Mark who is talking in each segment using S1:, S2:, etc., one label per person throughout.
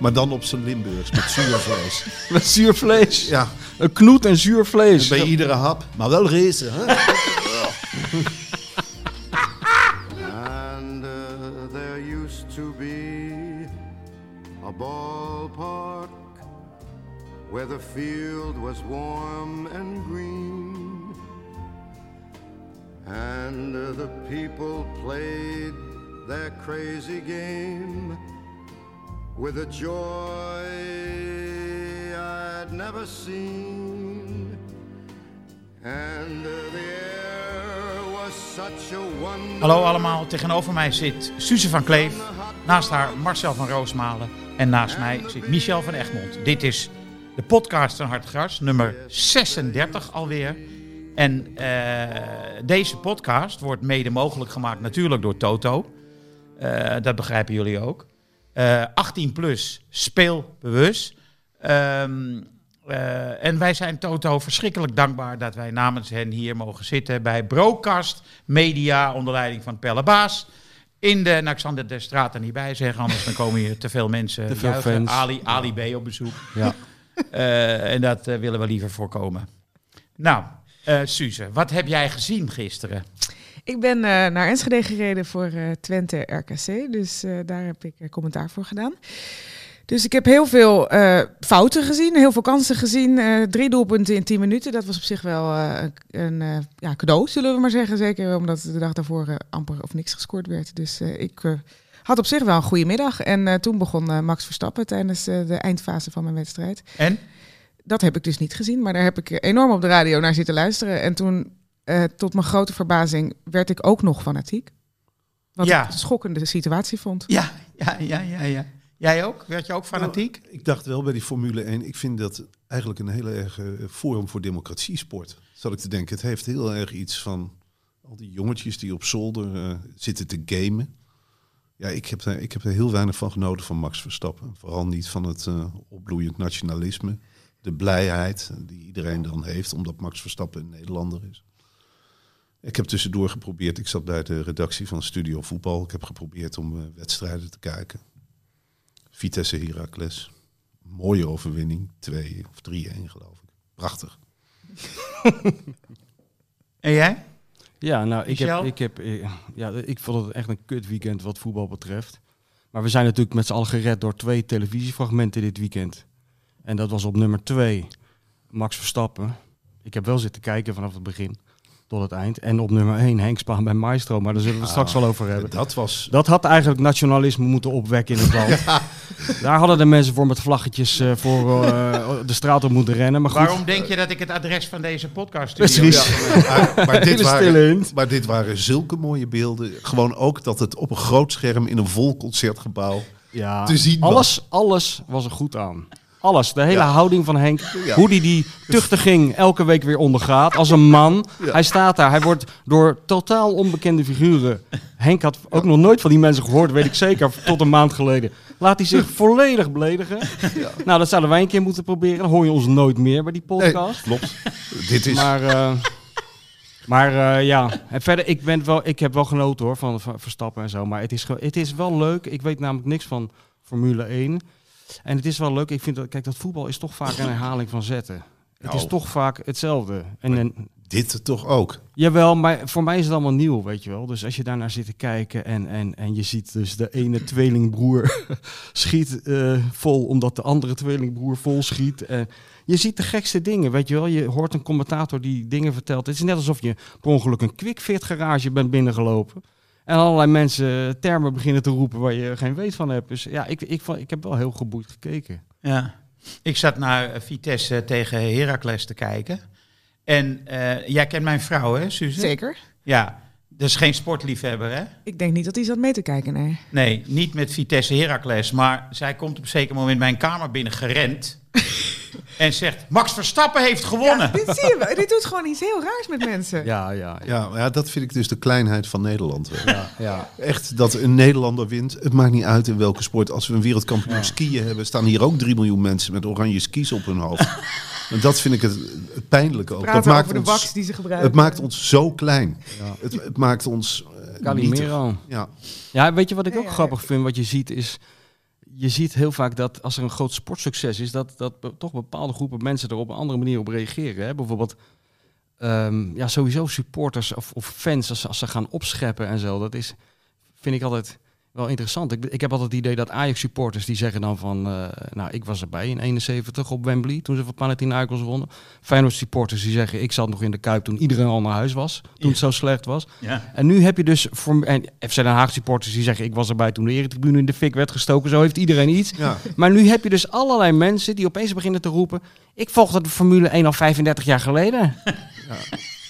S1: Maar dan op zijn Limburgs met zuurvlees.
S2: Met zuur vlees.
S1: ja,
S2: Een knoet en zuur vlees.
S1: bij iedere hap. Maar wel racen, hè?
S3: And uh, there used to be a ballpark where the field was warm and green. And uh, the people played their crazy game with a joy I'd never seen. And uh, the air was such a wonder.
S4: Hallo allemaal, tegenover mij zit Suze van Kleef. Naast haar Marcel van Roosmalen. En naast mij zit Michel van Egmond. Dit is de podcast van Hartgras, nummer 36 alweer. En eh, deze podcast wordt mede mogelijk gemaakt natuurlijk door Toto. Eh, dat begrijpen jullie ook. Eh, 18 plus, speel bewust. Ehm, eh, en wij zijn Toto verschrikkelijk dankbaar dat wij namens hen hier mogen zitten bij Broadcast Media onder leiding van Pelle Baas. In de, nou ik zal de, de straat er niet bij zeggen, anders dan komen hier te veel mensen.
S2: Te veel
S4: juichen.
S2: fans.
S4: Ali, Ali B op bezoek.
S2: Ja.
S4: Eh, en dat eh, willen we liever voorkomen. Nou, eh Suze, wat heb jij gezien gisteren?
S5: Ik ben eh, naar Enschede gereden voor eh, Twente RKC. Dus eh, daar heb ik eh, commentaar voor gedaan. Dus ik heb heel veel eh, fouten gezien, heel veel kansen gezien. eh, drie doelpunten in tien minuten. Dat was op zich wel eh, een eh, ja, cadeau, zullen we maar zeggen. Zeker omdat de dag daarvoor eh, amper of niks gescoord werd. Dus eh, ik eh, had op zich wel een goede middag. En eh, toen begon eh, Max Verstappen tijdens eh, de eindfase van mijn wedstrijd.
S4: En?
S5: Dat heb ik dus niet gezien, maar daar heb ik enorm op de radio naar zitten luisteren. En toen, eh, tot mijn grote verbazing, werd ik ook nog fanatiek. Wat
S4: Ja.
S5: ik een schokkende situatie vond.
S4: Ja, ja, ja, ja, ja. Jij ook? Werd je ook fanatiek?
S1: Nou, Ik dacht wel bij die Formule 1. Ik vind dat eigenlijk een hele erg eh, forum voor democratie sport. Zat ik te denken. Het heeft heel erg iets van al die jongetjes die op zolder eh, zitten te gamen. Ja, ik heb, daar, ik heb er heel weinig van genoten van Max Verstappen. Vooral niet van het eh, opbloeiend nationalisme. De blijheid die iedereen dan heeft omdat Max Verstappen een Nederlander is. Ik heb tussendoor geprobeerd, ik zat bij de redactie van Studio Voetbal. Ik heb geprobeerd om eh, wedstrijden te kijken. Vitesse Heracles. Mooie overwinning. 2 of 3-1 geloof ik. Prachtig.
S4: En jij?
S2: Ja, nou, ik heb,
S4: Michel?
S2: ik heb... eh, Ja, ik vond het echt een kut weekend wat voetbal betreft. Maar we zijn natuurlijk met z'n allen gered door twee televisiefragmenten dit weekend. En dat was op nummer twee Max Verstappen. Ik heb wel zitten kijken vanaf het begin tot het eind. En op nummer één Henk Spaan bij Maestro. Maar daar zullen we het straks wel over hebben.
S1: Dat was...
S2: Dat had eigenlijk nationalisme moeten opwekken in het land. Daar hadden de mensen voor met vlaggetjes eh, voor eh, de straat op moeten rennen. Maar goed,
S4: Waarom denk je dat ik het adres van deze podcast
S2: Precies.
S1: Maar, maar dit
S2: Hele stille
S1: waren,
S2: hint.
S1: maar dit waren zulke mooie beelden. Gewoon ook dat het op een groot scherm in een vol concertgebouw...
S2: ja,
S1: te zien was.
S2: alles, alles was er goed aan. Alles, de hele
S1: Ja.
S2: houding van Henk.
S1: Ja.
S2: Hoe die die tuchtiging elke week weer ondergaat. Als een man.
S1: Ja.
S2: Hij staat daar. Hij wordt door totaal onbekende figuren. Henk had ook nog nooit van die mensen gehoord, weet ik zeker. Tot een maand geleden. Laat hij zich volledig beledigen. Nou, dat zouden wij een keer moeten proberen. Dan hoor je ons nooit meer bij die podcast.
S1: klopt. dit is...
S2: Maar, eh, maar eh, ja, en verder, ik, ben wel, ik heb wel genoten hoor van, van Verstappen en zo. Maar het is, ge- het is wel leuk. Ik weet namelijk niks van Formule 1. En het is wel leuk. Ik vind dat, kijk, dat voetbal is toch vaak een herhaling van zetten. Het
S1: Nou.
S2: is toch vaak hetzelfde. En, en,
S1: Dit toch ook.
S2: jawel, maar voor mij is het allemaal nieuw, weet je wel. Dus als je daarnaar zit te kijken en, en, en je ziet dus de ene tweelingbroer schiet eh, vol omdat de andere tweelingbroer vol schiet. Eh, je ziet de gekste dingen, weet je wel. Je hoort een commentator die dingen vertelt. Het is net alsof je per ongeluk een quickfit garage bent binnengelopen. En allerlei mensen eh, termen beginnen te roepen waar je geen weet van hebt. Dus ja, ik, ik, ik heb wel heel geboeid gekeken.
S4: Ja. Ik zat naar eh, Vitesse tegen Heracles te kijken. En eh, jij kent mijn vrouw, hè, Suze?
S5: Zeker.
S4: Ja. Dat is geen sportliefhebber, hè?
S5: Ik denk niet dat hij zat mee te kijken, nee.
S4: Nee, niet met Vitesse Heracles. Maar zij komt op een zeker moment mijn kamer binnen gerend. en zegt, Max Verstappen heeft gewonnen.
S5: Dit zie je wel. Dit doet gewoon iets heel raars met mensen.
S2: Ja, ja, ja.
S1: Ja, maar ja, dat vind ik dus de kleinheid van Nederland. wel.
S2: ja.
S1: Echt dat een Nederlander wint. Het maakt niet uit in welke sport. Als we een wereldkampioen skiën hebben, staan hier ook 3 miljoen mensen met oranje skis op hun hoofd. en dat vind ik het, het pijnlijke ook.
S5: Praten
S1: dat maakt
S5: over de
S1: ons,
S5: wax die ze gebruiken.
S1: het maakt ons zo klein.
S2: Ja.
S1: Het, het maakt ons. eh, nietig.
S2: Calimero.
S1: Ja,
S2: Ja, weet je wat ik
S5: Ja,
S2: ook
S5: ja,
S2: grappig vind? Wat je ziet is... Je ziet heel vaak dat als er een groot sportsucces is... dat, dat be- toch bepaalde groepen mensen er op een andere manier op reageren. Hè? Bijvoorbeeld ehm, ja, sowieso supporters of, of fans als, ze- als ze gaan opscheppen en zo. Dat is, vind ik altijd wel interessant. Ik, ik heb altijd het idee dat Ajax-supporters die zeggen dan van... eh, nou, ik was erbij in 71 op Wembley toen ze van Panathinaikos wonnen. Feyenoord-supporters die zeggen... ik zat nog in de Kuip toen iedereen al naar huis was. Toen het zo slecht was.
S4: Ja.
S2: En nu heb je dus voor en FC Den Haag supporters die zeggen: ik was erbij toen de eretribune in de fik werd gestoken. Zo heeft iedereen iets.
S1: ja.
S2: Maar nu heb je dus allerlei mensen die opeens beginnen te roepen: ik volgde de Formule 1 al 35 jaar geleden.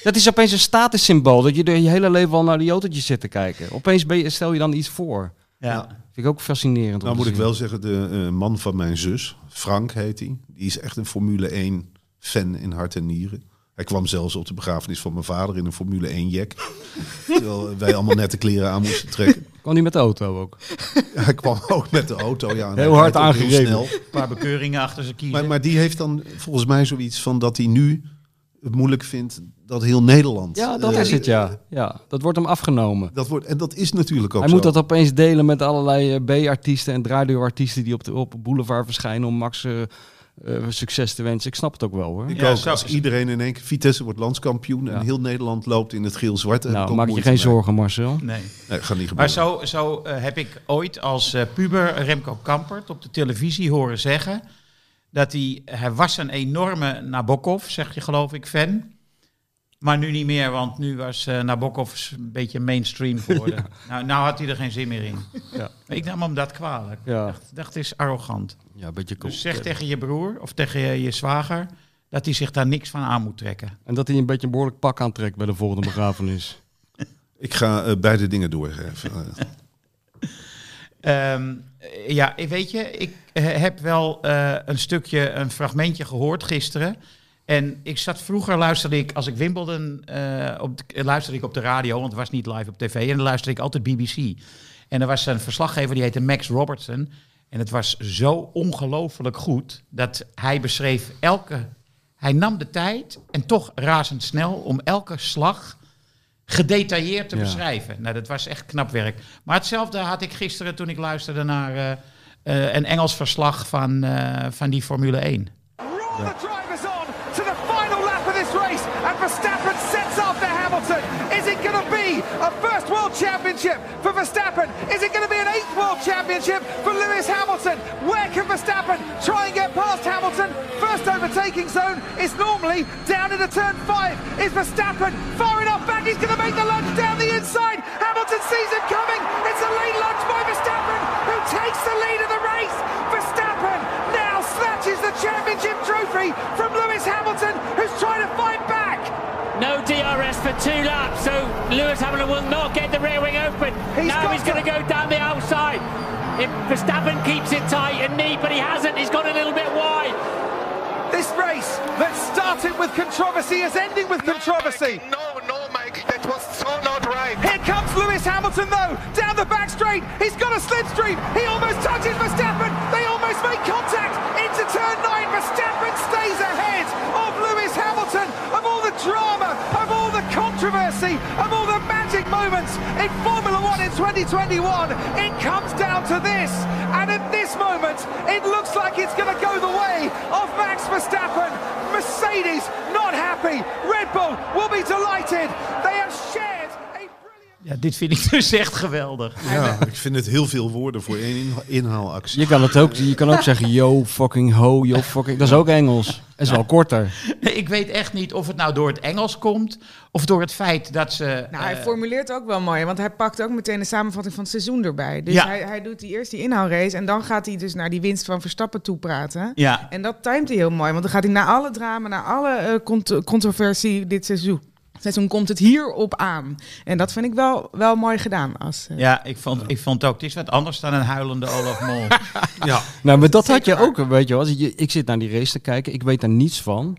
S2: Dat is opeens een statussymbool dat je er je hele leven al naar die autootjes zit te kijken. Opeens ben je, stel je dan iets voor.
S4: Ja.
S2: Vind ik ook fascinerend. om
S1: Nou
S2: te
S1: moet ik
S2: zien.
S1: wel zeggen, de eh, man van mijn zus, Frank heet hij, die is echt een Formule 1 fan in hart en nieren. Hij kwam zelfs op de begrafenis van mijn vader in een Formule 1 jack. terwijl wij allemaal nette kleren aan moesten trekken.
S2: Kwam die met de auto ook?
S1: Hij kwam ook met de auto. Ja, en
S2: Heel
S1: hij
S2: hard
S1: rijdt ook heel
S2: aangereden.
S1: snel.
S4: Een paar bekeuringen achter zijn kiezen.
S1: Maar, maar die heeft dan volgens mij zoiets van dat hij nu het moeilijk vindt dat heel Nederland...
S2: Ja, dat
S1: eh,
S2: is het ja. ja. Dat wordt hem afgenomen.
S1: Dat wordt, en dat is natuurlijk ook
S2: Hij
S1: zo.
S2: moet dat opeens delen met allerlei eh, B-artiesten en draaideurartiesten die op de op boulevard verschijnen om Max eh, eh, succes te wensen. Ik snap het ook wel hoor.
S1: Ik
S4: Ja,
S1: ook.
S4: zo
S1: Als
S4: is het.
S1: iedereen in één keer... Vitesse wordt landskampioen
S2: Ja.
S1: en heel Nederland loopt in het geel-zwart. eh, heb ik
S2: nou,
S1: ook
S2: maak je
S1: moeite
S2: geen
S1: mee.
S2: zorgen Marcel.
S4: Nee.
S1: Nee, gaat niet gebeuren.
S4: Maar zo, zo eh, heb ik ooit als eh, puber Remco Kampert op de televisie horen zeggen dat hij, hij was een enorme Nabokov, zeg je geloof ik, fan. Maar nu niet meer, want nu was eh, Nabokov een beetje mainstream geworden. Nou, nou had hij er geen zin meer in.
S2: Ja.
S4: Maar ik nam hem dat kwalijk.
S2: Ja.
S4: Ik dacht, dacht, het is arrogant.
S2: Ja, een beetje cool.
S4: Dus zeg tegen je broer of tegen je, je zwager dat hij zich daar niks van aan moet trekken.
S2: En dat hij een beetje een behoorlijk pak aantrekt bij de volgende begrafenis.
S1: Ik ga eh, beide dingen doorgeven. Eh,
S4: Ehm, eh, ja, ik- weet je, ik eh, heb wel eh, een stukje, een fragmentje gehoord gisteren. En ik zat vroeger, luisterde ik, als ik Wimbledon, eh, op de- eh, luisterde ik op de radio, want het was niet live op tv. En dan luisterde ik altijd BBC. En er was een verslaggever, die heette Max Robertson. En het was zo ongelooflijk goed, dat hij beschreef elke... Hij nam de tijd, en toch razendsnel, om elke slag gedetailleerd te
S2: Ja.
S4: beschrijven. Nou, dat was echt knap werk. Maar hetzelfde had ik gisteren toen ik luisterde naar eh, eh, een Engels verslag van, eh, van die Formule 1.
S6: Roll the drivers on to the final lap of this race, and Verstappen sets after Hamilton. Is it going to be a first world championship for Verstappen? Is it going to be an eighth world championship for Lewis Hamilton? Where can Verstappen try and get past Hamilton? First overtaking zone is normally down into turn five. Is Verstappen far enough back? He's going to make the lunge down the inside. Hamilton sees it coming. It's a late lunge by Verstappen, who takes the lead of the race. Verstappen now snatches the championship trophy from Lewis Hamilton, who's trying to fight back.
S7: No DRS for two laps, so Lewis Hamilton will not get the rear wing open.
S6: He's
S7: now
S6: got
S7: he's going to go down the outside. If Verstappen keeps it tight and neat, but he hasn't. He's gone a little bit wide.
S6: This race that started with controversy is ending with controversy.
S8: No, no, Mike, that was so not right.
S6: Here comes Lewis Hamilton though, down the back straight. He's got a slipstream. He almost touches Verstappen. They almost make contact into turn nine. Verstappen stays ahead of Lewis Hamilton. Of all the drama, of all the controversy, of all the magic moments in Formula One in 2021, it comes down to this. And at this moment, it looks like it's going to go the way of Max Verstappen. Mercedes not happy. Red Bull will be delighted. They have shared a brilliant.
S4: Ja, dit vind ik dus echt geweldig.
S1: ja, ik vind het heel veel woorden voor één inha- inhaalactie.
S2: Je kan, het ook, je kan ook zeggen, yo fucking ho, yo fucking... Dat is ook Engels. Dat is wel korter.
S4: Ik weet echt niet of het nou door het Engels komt of door het feit dat ze...
S5: Nou, hij
S4: eh,
S5: formuleert ook wel mooi, want hij pakt ook meteen de samenvatting van het seizoen erbij. Dus
S4: Ja.
S5: hij, hij doet die eerst die inhoudrace en dan gaat hij dus naar die winst van Verstappen toe praten.
S4: ja,
S5: En dat timed hij heel mooi, want dan gaat hij naar alle drama, naar alle eh, cont- controversie dit seizoen. seizoen komt het hierop aan. En dat vind ik wel, wel mooi gedaan. Als, eh,
S4: Ja, ik vond, ik vond ook, het is wat anders dan een huilende Olaf Mol.
S1: Ja,
S2: Nou, maar dat had je
S5: Zeker
S2: ook, weet je wel. Je- Ik zit naar die race te kijken, ik weet daar niets van.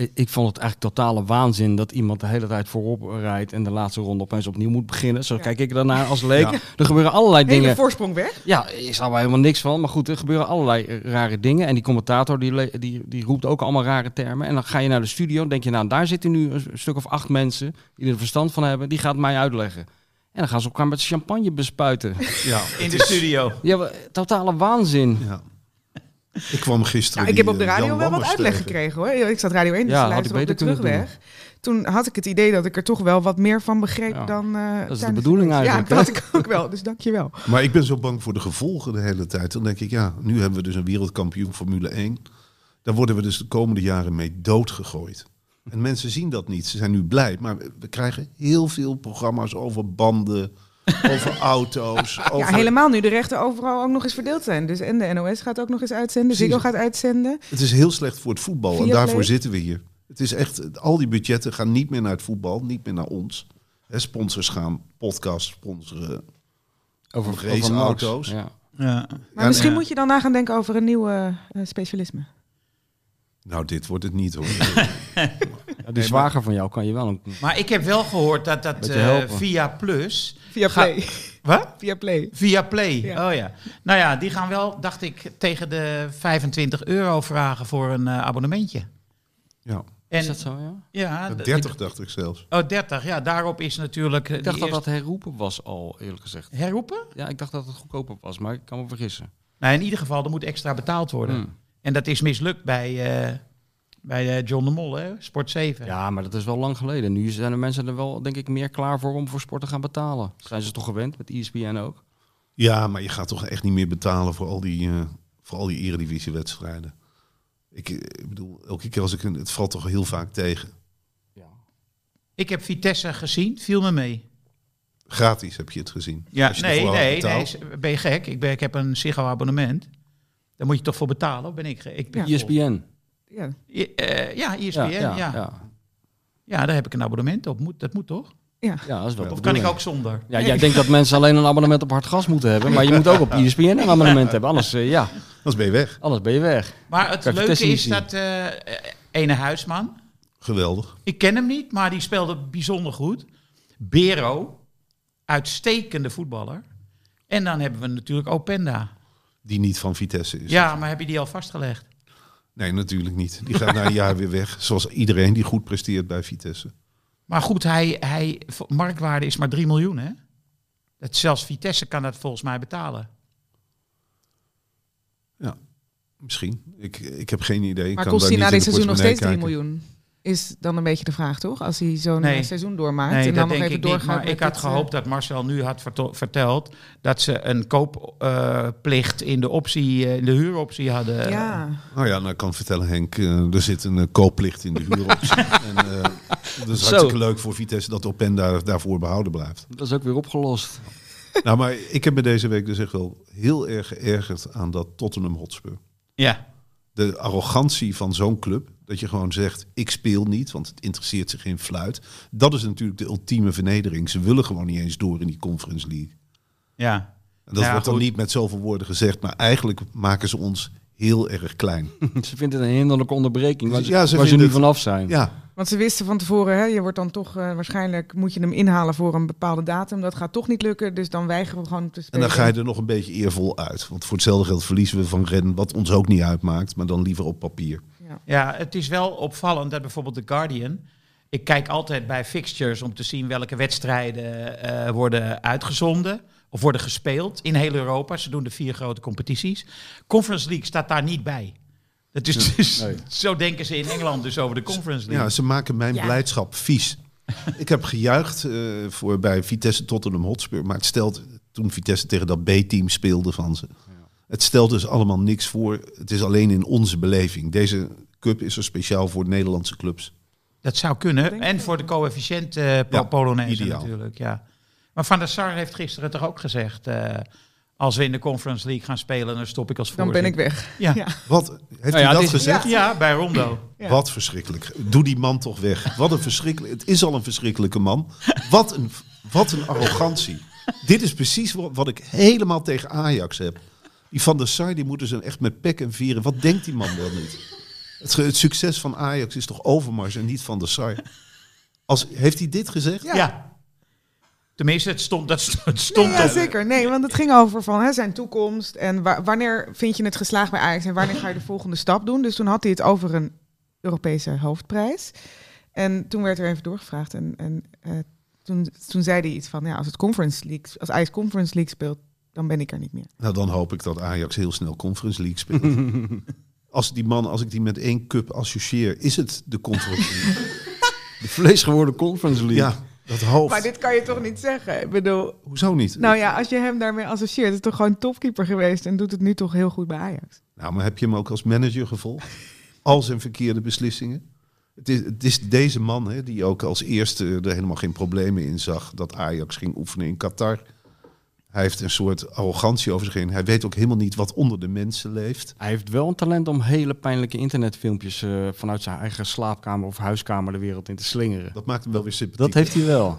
S2: I- Ik vond het eigenlijk totale waanzin dat iemand de hele tijd voorop rijdt en de laatste ronde opeens opnieuw moet beginnen. Zo
S5: Ja.
S2: kijk ik daarnaar als leek. Er gebeuren allerlei
S5: Hele
S2: dingen.
S5: voorsprong weg.
S2: Ja, ik snap er helemaal niks van. Maar goed, er gebeuren allerlei eh, rare dingen. En die commentator die, le- die, die roept ook allemaal rare termen. En dan ga je naar de studio en denk je, nou daar zitten nu een s- stuk of acht mensen die er verstand van hebben. Die gaat mij uitleggen. En dan gaan ze elkaar met champagne bespuiten.
S1: ja,
S4: In de studio.
S2: ja, wa- totale waanzin.
S1: ja. Ik kwam gisteren.
S5: Nou, ik
S1: die,
S5: heb op de
S1: eh,
S5: radio
S1: Jan
S5: wel wat
S1: Lammers
S5: uitleg
S1: tegen.
S5: gekregen hoor. Ik zat radio 1 dus
S2: Ja, had
S5: te luisteren op
S2: ik
S5: de
S2: beter kunnen
S5: terugweg. Toen had ik het idee dat ik er toch wel wat meer van begreep
S2: Ja,
S5: dan... eh,
S2: is de
S5: tijdens
S2: bedoeling
S5: race.
S2: eigenlijk,
S5: Ja,
S2: hè?
S5: dat had ik ook wel. Dus dank je wel.
S1: Maar ik ben zo bang voor de gevolgen de hele tijd. Dan denk ik, ja, nu hebben we dus een wereldkampioen Formule 1. Daar worden we dus de komende jaren mee doodgegooid. En mensen zien dat niet. Ze zijn nu blij. Maar we- we krijgen heel veel programma's over banden, over auto's.
S5: Ja,
S1: Over...
S5: helemaal nu de rechten overal ook nog eens verdeeld zijn. Dus en de NOS gaat ook nog eens uitzenden.
S1: Precies.
S5: Ziggo gaat uitzenden.
S1: Het is heel slecht voor het voetbal. En
S5: Viaplay.
S1: daarvoor zitten we hier. Het is echt, al die budgetten gaan niet meer naar het voetbal, niet meer naar ons. Hè, Sponsors gaan podcasts sponsoren.
S2: Over,
S1: Raceauto's.
S2: Max. Ja.
S4: Ja.
S5: Maar
S1: Ja,
S2: eh,
S5: misschien
S4: ja.
S5: moet je dan na gaan denken over een nieuw eh, eh, specialisme.
S1: Nou, dit wordt het niet hoor.
S2: Ja, die zwager van jou kan je wel. Een...
S4: Maar ik heb wel gehoord dat dat
S2: Beetje
S4: eh,
S2: helpen.
S4: via Plus...
S5: Via
S4: Ga-
S5: Play.
S4: Wat?
S5: Via Play.
S4: Via Play,
S5: Ja.
S4: oh ja. Nou ja, die gaan wel, dacht ik, tegen de 25 euro vragen voor een eh, abonnementje.
S1: ja.
S4: En,
S2: Is dat zo, ja?
S4: Ja, d-
S1: 30 dacht ik zelfs.
S4: Oh, 30, ja. Daarop is natuurlijk... eh,
S2: Ik dacht
S4: die
S2: dat dat herroepen was al, eerlijk gezegd.
S4: eerste- Herroepen?
S2: Ja, ik dacht dat het goedkoper was, maar ik kan me vergissen.
S4: Nou, in ieder geval, er moet extra betaald worden.
S2: Hmm.
S4: En dat is mislukt bij, eh, bij eh, John de Mol, hè? Sport 7.
S2: Ja, maar dat is wel lang geleden. Nu zijn de mensen er wel, denk ik, meer klaar voor om voor sport te gaan betalen. Zijn ze toch gewend, met E ESPN ook?
S1: Ja, maar je gaat toch echt niet meer betalen voor al die, eh, voor al die eredivisiewedstrijden. Ik, eh, ik bedoel, elke keer als ik een, het valt toch heel vaak tegen.
S2: Ja.
S4: Ik heb Vitesse gezien, viel me mee.
S1: Gratis heb je het gezien.
S4: Ja,
S1: Als je
S4: nee,
S1: ervoor had
S4: nee, nee,
S1: betaald.
S4: ben je gek? Ik, ben, ik heb een Ziggo-abonnement. Daar moet je toch voor betalen, of ben ik gek? Ik ben
S5: Ja.
S2: ESPN.
S4: E
S5: Ja.
S4: I- eh, ja, ESPN, ja ja,
S2: ja. ja.
S4: daar heb ik een abonnement op. Moet, dat moet toch?
S2: Ja, dat is wel de
S4: Of kan ik
S2: bedoeling.
S4: ook zonder?
S2: Ja, jij denkt dat mensen alleen een abonnement op hard gas moeten hebben, maar je moet ook op E ESPN een abonnement hebben. Anders, eh, ja,
S1: Anders ben je weg.
S2: anders ben je weg.
S4: Maar het
S2: Kan ik
S4: leuke
S2: Vitesse niet
S4: is
S2: zien?
S4: dat eh, ene huisman,
S1: Geweldig.
S4: ik ken hem niet, maar die speelde bijzonder goed. Bero, uitstekende voetballer. En dan hebben we natuurlijk Openda.
S1: Die niet van Vitesse is.
S4: Ja, maar heb je die al vastgelegd?
S1: Nee, natuurlijk niet. Die gaat na een jaar weer weg. Zoals iedereen die goed presteert bij Vitesse.
S4: Maar goed, hij, hij, marktwaarde is maar 3 miljoen, hè? Dat zelfs Vitesse kan dat volgens mij betalen.
S1: Ja, misschien. Ik, ik heb geen idee. Ik
S5: Maar
S1: kan
S5: kost
S1: daar niet
S5: hij na
S1: in
S5: dit
S1: de
S5: seizoen nog steeds 3
S1: portemonnee
S5: miljoen? Is dan een beetje de vraag, toch? Als hij zo'n
S4: Nee.
S5: eh, seizoen doormaakt
S4: Nee,
S5: en
S4: dat
S5: dan nog
S4: denk
S5: even
S4: ik niet.
S5: doorgaat.
S4: Maar
S5: met
S4: ik had
S5: het, eh,
S4: gehoopt dat Marcel nu had verto- verteld dat ze een koopplicht in de optie, eh, in de huuroptie hadden.
S5: ja.
S1: kijken. Nou ja, nou ik kan vertellen Henk, eh, er zit een eh, koopplicht in de huuroptie. en, eh, dat is
S2: Zo.
S1: hartstikke leuk voor Vitesse dat Openda daarvoor behouden blijft.
S2: Dat is ook weer opgelost.
S1: Nou, maar ik heb me deze week dus echt wel heel erg geërgerd aan dat Tottenham Hotspur.
S4: Ja.
S1: De arrogantie van zo'n club, dat je gewoon zegt, ik speel niet, want het interesseert zich geen fluit. Dat is natuurlijk de ultieme vernedering. Ze willen gewoon niet eens door in die Conference League.
S4: ja.
S1: En dat
S4: Ja,
S1: wordt dan
S4: goed.
S1: niet met zoveel woorden gezegd, maar eigenlijk maken ze ons heel erg klein.
S2: Ze vinden het een hinderlijke onderbreking waar ze,
S1: Ja, ze
S2: waar ze
S1: vinden
S2: nu
S1: het-
S2: vanaf zijn.
S1: Ja,
S5: Want ze wisten van tevoren, hè, je wordt dan toch eh, waarschijnlijk moet je hem inhalen voor een bepaalde datum. Dat gaat toch niet lukken, dus dan weigeren we gewoon te
S1: en
S5: spelen.
S1: dan ga je er nog een beetje eervol uit. Want voor hetzelfde geld verliezen we van Redden, wat ons ook niet uitmaakt, maar dan liever op papier.
S4: Ja, het is wel opvallend dat bijvoorbeeld The Guardian. Ik kijk altijd bij fixtures om te zien welke wedstrijden eh, worden uitgezonden of worden gespeeld in heel Europa. Ze doen de vier grote competities. Conference League staat daar niet bij. Dat is dus,
S2: Nee.
S4: Zo denken ze in Engeland dus over de Conference League.
S1: Ja, ze maken mijn blijdschap vies. Ik heb gejuicht eh, voor bij Vitesse Tottenham Hotspur. Maar het stelt, toen Vitesse tegen dat B-team speelde van ze. Het stelt dus allemaal niks voor. Het is alleen in onze beleving. Deze cup is er speciaal voor Nederlandse clubs.
S4: Dat zou kunnen.
S5: denk
S4: En voor de coëfficiënt eh, po-
S1: Ja,
S4: Polonaise
S1: ideaal.
S4: natuurlijk, ja. Maar Van der Sar heeft gisteren toch ook gezegd... eh, Als we in de Conference League gaan spelen, dan stop ik als
S5: Dan
S4: voorzitter.
S5: ben ik weg.
S4: Ja,
S5: Ja.
S1: Wat, heeft
S2: Nou ja,
S1: u dat
S2: het is-
S1: gezegd?
S4: ja bij Rondo.
S5: Ja.
S1: Wat verschrikkelijk. Doe die man toch weg. Wat een verschrikkelijk. Het is al een verschrikkelijke man. Wat een, wat een arrogantie. Dit is precies wa- wat ik helemaal tegen Ajax heb. Die Van der Sar die moeten ze echt met pek en vieren. Wat denkt die man wel niet? Het, ge- het succes van Ajax is toch Overmars en niet Van der Sar. Als, heeft hij dit gezegd?
S4: Ja. Tenminste, het stond, dat st- het stond
S5: Nee, ja,
S4: op.
S5: zeker. Nee, want het ging over van hè, zijn toekomst en wa- wanneer vind je het geslaagd bij Ajax en wanneer ga je de volgende stap doen. Dus toen had hij het over een Europese hoofdprijs. En toen werd er even doorgevraagd en, en eh, toen, toen zei hij iets van, ja, als het Conference League, als Ajax Conference League speelt, dan ben ik er niet meer.
S1: Nou, dan hoop ik dat Ajax heel snel Conference League speelt. als die man, als ik die met één cup associeer, is het de Conference League.
S2: De vleesgeworden Conference League.
S1: ja, dat hoofd.
S5: Maar dit kan je toch niet zeggen? Ik bedoel,
S1: Hoezo niet?
S5: nou ja, als je hem daarmee associeert, is toch gewoon topkeeper geweest en doet het nu toch heel goed bij Ajax.
S1: Nou, maar heb je hem ook als manager gevolgd? Al zijn verkeerde beslissingen? Het is, het is deze man hè, die ook als eerste er helemaal geen problemen in zag dat Ajax ging oefenen in Qatar. Hij heeft een soort arrogantie over zich heen. Hij weet ook helemaal niet wat onder de mensen leeft.
S2: Hij heeft wel een talent om hele pijnlijke internetfilmpjes eh, vanuit zijn eigen slaapkamer of huiskamer de wereld in te slingeren.
S1: Dat maakt hem wel weer sympathiek.
S2: Dat heeft hij wel.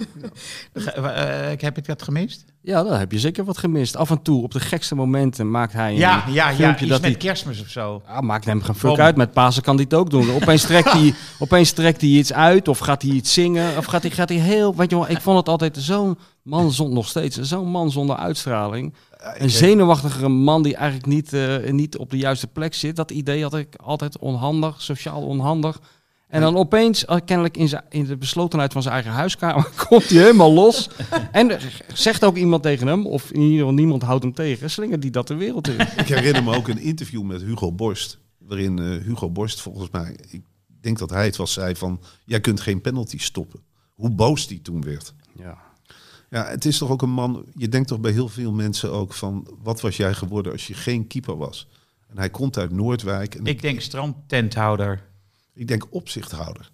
S4: Ge- eh, ik heb ik dat gemist?
S2: Ja, daar heb je zeker wat gemist. Af en toe, op de gekste momenten, maakt hij een
S4: Ja, ja, ja.
S2: filmpje
S4: Iets
S2: dat
S4: met
S2: hij...
S4: kerstmis of zo.
S2: Ja, maakt hem geen fuck
S4: Waarom?
S2: uit. Met Pasen kan hij het ook doen. Opeens trekt hij, opeens trekt hij iets uit of gaat hij iets zingen. Of gaat hij, gaat hij heel... Weet je wel, ik vond het altijd zo'n man zonder... Nog steeds, zo'n man zonder uitstraling. Een zenuwachtigere man die eigenlijk niet, eh, niet op de juiste plek zit. Dat idee had ik altijd onhandig, sociaal onhandig. En dan opeens, eh, kennelijk in, zijn- in de beslotenheid van zijn eigen huiskamer, komt hij helemaal los. En er zegt ook iemand tegen hem, of in ieder geval niemand houdt hem tegen, slingert hij dat de wereld in.
S1: Ik herinner me ook een interview met Hugo Borst. Waarin eh, Hugo Borst volgens mij, ik denk dat hij het was, zei van... Jij kunt geen penalty stoppen. Hoe boos die toen werd.
S2: Ja.
S1: Ja, het is toch ook een man. Je denkt toch bij heel veel mensen ook van. Wat was jij geworden als je geen keeper was? En hij komt uit Noordwijk. En ik,
S4: Ik denk strandtenthouder.
S1: denk opzichthouder.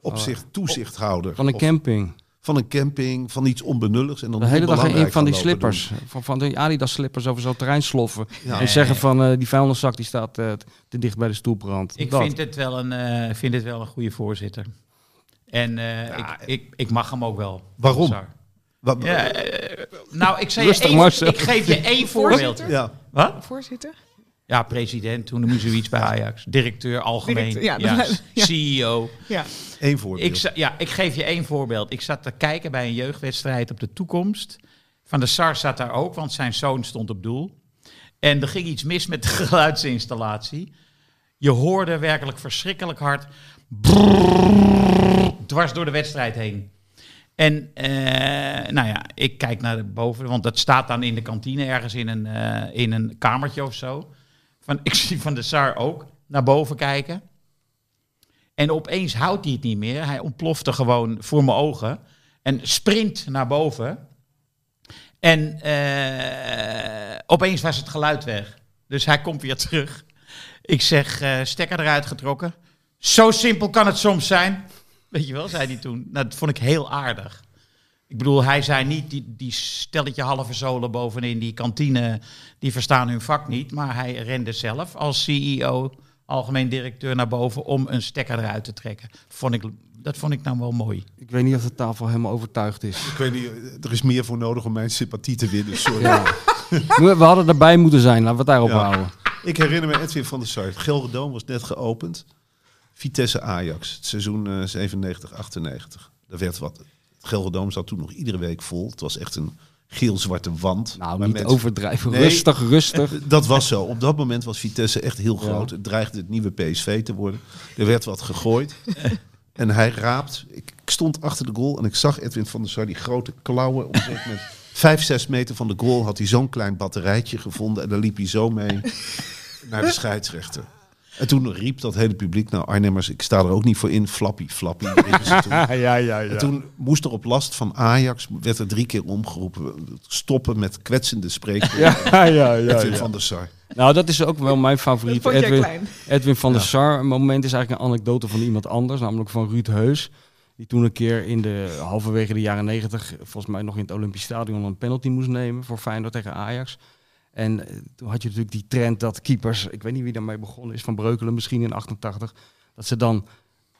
S1: Opzicht, toezichthouder.
S2: Oh. Van een
S1: Of
S2: camping.
S1: van een camping, van iets onbenulligs. En dan
S2: De hele dag in
S1: onbelangrijk
S2: een van die
S1: gaan lopen
S2: slippers. Van, van die Adidas slippers over zo'n terrein sloffen.
S1: Ja.
S2: En zeggen van eh, die vuilniszak die staat eh, te dicht bij de stoelbrand.
S4: Ik
S2: Dat.
S4: vind het, wel een, eh, ik vind het wel een goede voorzitter. En eh, ik, ik, ik mag hem ook wel.
S1: Waarom?
S4: Sar.
S1: doen. Wat-
S4: Ja, eh, nou, ik, zei je
S2: Rustig,
S4: één-
S2: Marcel.
S4: ik geef je één voorbeeld.
S5: Voorzitter?
S1: ja.
S4: Wat?
S5: Voorzitter?
S4: Ja, president, toen noemde ze iets bij Ajax. Directeur, algemeen.
S5: Directeur, ja,
S4: ja, E
S5: dat- ja.
S4: CEO.
S5: Ja.
S1: één voorbeeld.
S4: Ik, za- ja, ik geef je één voorbeeld. Ik zat te kijken bij een jeugdwedstrijd op de toekomst. Van de SAR zat daar ook, want zijn zoon stond op doel. En er ging iets mis met de geluidsinstallatie. Je hoorde werkelijk verschrikkelijk hard... brrrr, dwars door de wedstrijd heen. En eh, nou ja, ik kijk naar boven, want dat staat dan in de kantine ergens in een, eh, in een kamertje of zo. Van, ik zie Van de Sar ook naar boven kijken. En opeens houdt hij het niet meer. Hij ontplofte gewoon voor mijn ogen. En sprint naar boven. En eh, opeens was het geluid weg. Dus hij komt weer terug. Ik zeg, eh, stekker eruit getrokken. Zo simpel kan het soms zijn. Weet je wel, zei hij toen. Nou, dat vond ik heel aardig. Ik bedoel, hij zei niet die, die stelletje halve zolen bovenin die kantine, die verstaan hun vak niet. Maar hij rende zelf als CEO, algemeen directeur, naar boven om een stekker eruit te trekken. Vond ik, dat vond ik nou wel mooi.
S2: Ik weet niet of de tafel helemaal overtuigd is.
S1: Ik weet niet, er is meer voor nodig om mijn sympathie te winnen. Sorry.
S2: Ja. We we hadden erbij moeten zijn, laten we het daarop
S1: Ja.
S2: houden.
S1: Ik herinner me Edwin van der Sar. Het Gelderdoom was net geopend. Vitesse Ajax, het seizoen eh, 97-98. Daar werd wat. Het Gelderdoom zat toen nog iedere week vol. Het was echt een geel-zwarte wand.
S2: Nou,
S1: Maar
S2: niet
S1: mensen-
S2: overdrijven.
S1: Nee.
S2: Rustig, rustig.
S1: Dat was zo. Op dat moment was Vitesse echt heel groot. Het dreigde het nieuwe PSV te worden. Er werd wat gegooid. en hij raapt. Ik, ik stond achter de goal en ik zag Edwin van der Sar die grote klauwen. Op een gegeven moment, vijf, zes meter van de goal had hij zo'n klein batterijtje gevonden. En daar liep hij zo mee naar de scheidsrechter. En toen riep dat hele publiek, nou Arnhemmers, ik sta er ook niet voor in. Flappy, flappy. riepen ze toen.
S2: ja, ja,
S1: En toen moest er op last van Ajax, werd er drie keer omgeroepen. Stoppen met kwetsende spreken.
S2: Ja, ja, ja,
S1: Edwin van der Sar.
S2: Nou, dat is ook wel mijn favoriet.
S5: Dat vond jij
S2: Edwin,
S5: klein.
S2: Edwin van der
S1: Ja.
S2: Sar. Een moment is eigenlijk een anekdote van iemand anders, namelijk van Ruud Heus. Die toen een keer in de halverwege de jaren negentig, volgens mij nog in het Olympisch Stadion, een penalty moest nemen voor Feyenoord tegen Ajax. En eh, toen had je natuurlijk die trend dat keepers, ik weet niet wie daarmee begonnen is, van Breukelen misschien in 88, dat ze dan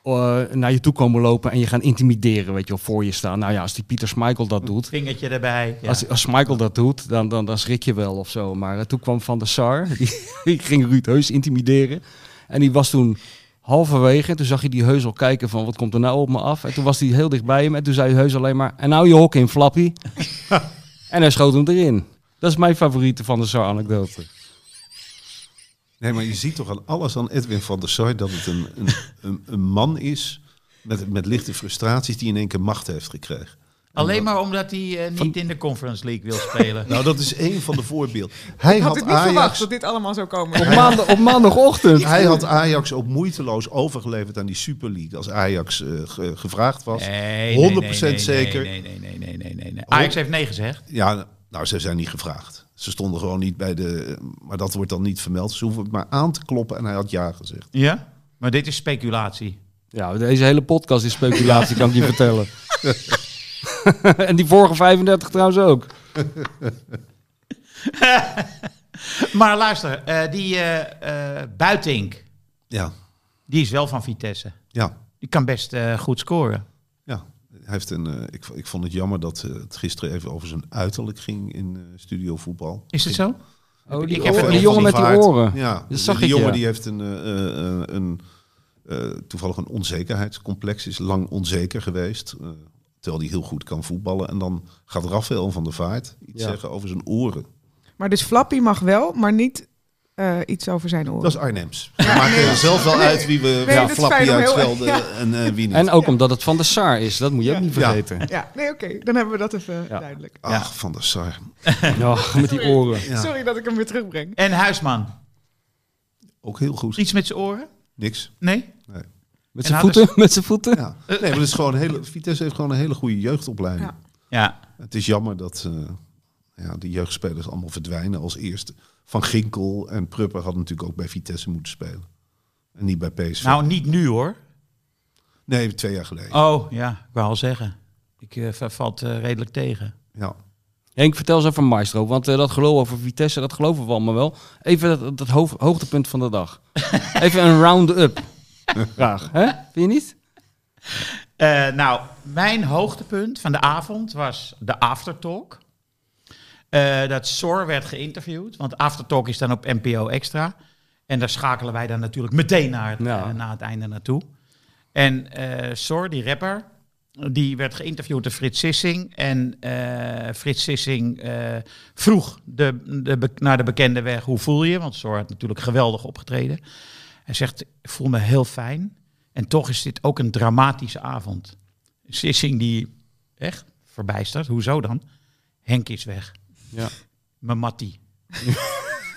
S2: eh, naar je toe komen lopen en je gaan intimideren, weet je wel, voor je staan. Nou ja, als die Pieter Schmeichel dat doet,
S4: Vingertje erbij. Ja.
S2: als, als Michael dat doet, dan, dan, dan schrik je wel of zo. Maar eh, toen kwam Van der Sar, die, die ging Ruud Heus intimideren. En die was toen halverwege. En toen zag je die Heus al kijken van, wat komt er nou op me af? En toen was hij heel dicht bij hem. En toen zei Heus alleen maar, en nou je hok in, Flappy. en hij schoot hem erin. Dat is mijn favoriete Van der Sar anekdote.
S1: Nee, maar je ziet toch aan alles aan Edwin van der Sar dat het een, een, een, een man is met, met lichte frustraties die in één keer macht heeft gekregen.
S4: Alleen maar omdat hij eh, niet in de Conference League wil spelen.
S1: Nou, dat is één van de voorbeelden. Hij
S5: had
S1: had,
S5: het niet verwacht
S1: Ajax,
S5: dat dit allemaal zou komen.
S2: Op, maandag, op maandagochtend.
S1: hij had Ajax ook moeiteloos overgeleverd aan die Super League als Ajax eh, ge- gevraagd was.
S4: Nee, nee,
S1: 100%
S4: nee, nee, nee,
S1: zeker.
S4: Nee, nee, nee, nee, nee, nee, nee. Ajax heeft nee gezegd.
S1: Ja, nou, ze zijn niet gevraagd. Ze stonden gewoon niet bij de. Maar dat wordt dan niet vermeld. Ze hoeven het maar aan te kloppen en hij had ja gezegd.
S4: Ja? Maar dit is speculatie.
S2: Ja, deze hele podcast is speculatie, kan ik je vertellen. en die vorige 35 trouwens ook.
S4: Maar luister, eh, die eh, eh, Buitink,
S1: Ja,
S4: die is wel van Vitesse.
S1: ja,
S4: Die kan best eh, goed scoren.
S1: ja. Hij heeft een, eh, ik, ik vond het jammer dat eh, het gisteren even over zijn uiterlijk ging in eh, studio voetbal.
S4: Is het zo?
S2: Oh,
S4: Ik
S2: die,
S4: heb
S2: oor-
S4: het
S2: die
S4: nog
S2: jongen
S4: niet
S2: met die
S1: Vaart.
S2: oren.
S1: Ja,
S2: dat
S1: dat
S2: zag
S1: die
S2: ik,
S1: jongen
S2: ja.
S1: die heeft een, eh, eh, eh, een eh, toevallig een onzekerheidscomplex, is lang onzeker geweest. eh, terwijl hij heel goed kan voetballen. En dan gaat Rafael van der Vaart iets
S2: Ja.
S1: zeggen over zijn oren.
S5: Maar dus Flappy mag wel, maar niet eh, iets over zijn oren.
S1: Dat is Arnhems. We maken zelf wel uit wie we
S5: Nee,
S1: ja,
S5: dat is
S1: Flappy
S5: fijn om heel-
S1: uitschelden
S5: ja.
S1: en eh, wie niet.
S2: En ook omdat het van de Saar is, dat moet je ook niet
S1: Ja.
S2: vergeten.
S5: Ja, nee, oké. Dan hebben we dat even
S2: Ja.
S5: duidelijk.
S1: Ach, Van der Sar.
S2: Ach, met die oren.
S1: Ja.
S5: Sorry dat ik hem weer terugbreng.
S4: En Huisman,
S1: Ook heel goed.
S4: iets met zijn oren?
S1: Niks.
S4: Nee?
S2: Met
S4: En
S2: zijn
S4: nou,
S2: voeten, met zijn voeten.
S1: Ja. Nee, maar het is gewoon een hele, Vitesse heeft gewoon een hele goede jeugdopleiding.
S5: Ja.
S4: Ja.
S1: Het is jammer dat eh, ja, die jeugdspelers allemaal verdwijnen als eerste. Van Ginkel en Prupper hadden natuurlijk ook bij Vitesse moeten spelen. En niet bij PSV.
S4: Nou, niet nu hoor.
S1: nee, twee jaar geleden.
S4: Oh, ja, ik wou al zeggen. Ik eh, va- valt eh, redelijk tegen.
S1: Ja.
S2: Henk, vertel eens even Maestro, want eh, dat geloof over Vitesse, dat geloven we allemaal wel. Even dat, dat hoog- hoogtepunt van de dag. Even een round-up graag, hè? Vind je niet?
S4: Eh, nou, mijn hoogtepunt van de avond was de aftertalk. Eh, dat Sor werd geïnterviewd, want aftertalk is dan op NPO Extra. En daar schakelen wij dan natuurlijk meteen naar het,
S2: Ja.
S4: eh, na het einde naartoe. En eh Sor, die rapper, die werd geïnterviewd door Frits Sissing. En eh, Frits Sissing eh, vroeg de, de, be- naar de bekende weg, hoe voel je? Want Sor had natuurlijk geweldig opgetreden. Hij zegt, ik voel me heel fijn. En toch is dit ook een dramatische avond. Sissing die echt verbijsterd. Hoezo dan? Henk is weg.
S2: Ja.
S4: Mijn mattie.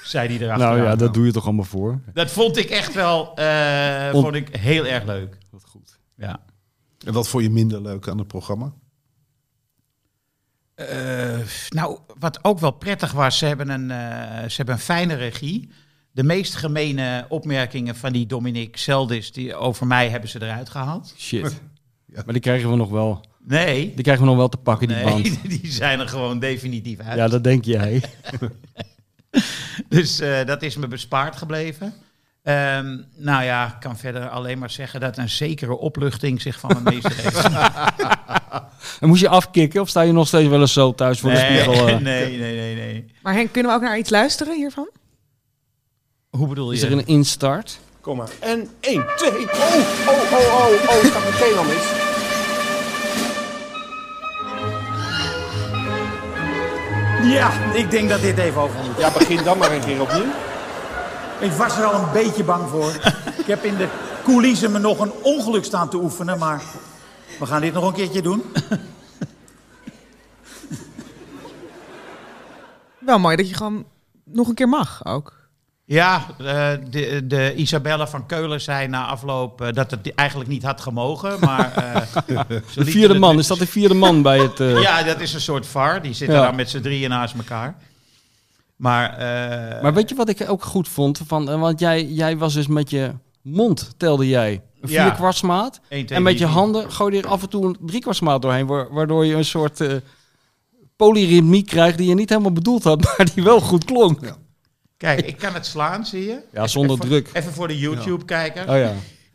S4: zei hij erachter.
S2: Nou ja, dat doe je toch allemaal voor.
S4: dat vond ik echt wel eh,
S2: On-
S4: vond ik heel erg leuk.
S2: Wat goed.
S4: Ja.
S1: En wat vond je minder leuk aan het programma?
S4: Eh, nou, wat ook wel prettig was, ze hebben, een, eh, ze hebben een fijne regie. De meest gemene opmerkingen van die Dominique Zeldis die over mij hebben ze eruit gehaald.
S2: Shit. Maar die krijgen we nog wel,
S4: Nee,
S2: die krijgen we nog wel te pakken, die band.
S4: nee die zijn er gewoon definitief uit.
S2: Ja, dat denk jij.
S4: Dus eh, dat is me bespaard gebleven. Ehm, nou ja, ik kan verder alleen maar zeggen dat een zekere opluchting zich van me meester heeft.
S2: En moest je afkicken of sta je nog steeds wel eens zo thuis voor de
S4: Nee,
S2: spiegel? eh?
S4: nee, nee, nee, nee.
S5: Maar Henk, kunnen we ook naar iets luisteren hiervan?
S4: Hoe bedoel je?
S2: Is er een instart?
S9: Kom maar. En 1, 2. Oh, oh, oh, oh, oh, het gaat meteen al mis.
S10: Ja, ik denk dat dit even over moet.
S9: Ja, begin dan maar een keer opnieuw.
S10: Ik was er al een beetje bang voor. Ik heb in de coulissen me nog een ongeluk staan te oefenen, maar we gaan dit nog een keertje doen.
S5: Wel mooi dat je gewoon nog een keer mag ook.
S4: Ja, eh, de, de Isabelle van Keulen zei na afloop eh, dat het eigenlijk niet had gemogen. Maar, eh, ze
S2: De
S4: lieten
S2: vierde
S4: het-
S2: man, is dat de vierde man bij het... eh,
S4: Ja, dat is een soort var. Die zitten
S2: Ja.
S4: daar met z'n drieën naast elkaar. Maar, eh,
S2: Maar weet je wat ik ook goed vond? Van, eh, want jij, jij was dus met je mond, telde jij, een
S4: Ja.
S2: vierkwartsmaat.
S4: Eén, twee,
S2: En met je
S4: drie, vier.
S2: handen gooide je er af en toe een driekwartsmaat doorheen, wa- waardoor je een soort eh, polyritmie krijgt die je niet helemaal bedoeld had, maar die wel goed klonk. Ja,
S4: Kijk, ik kan het slaan, zie je?
S2: zonder
S4: Even-
S2: druk.
S4: Even voor de YouTube-kijker.
S2: Oh ja.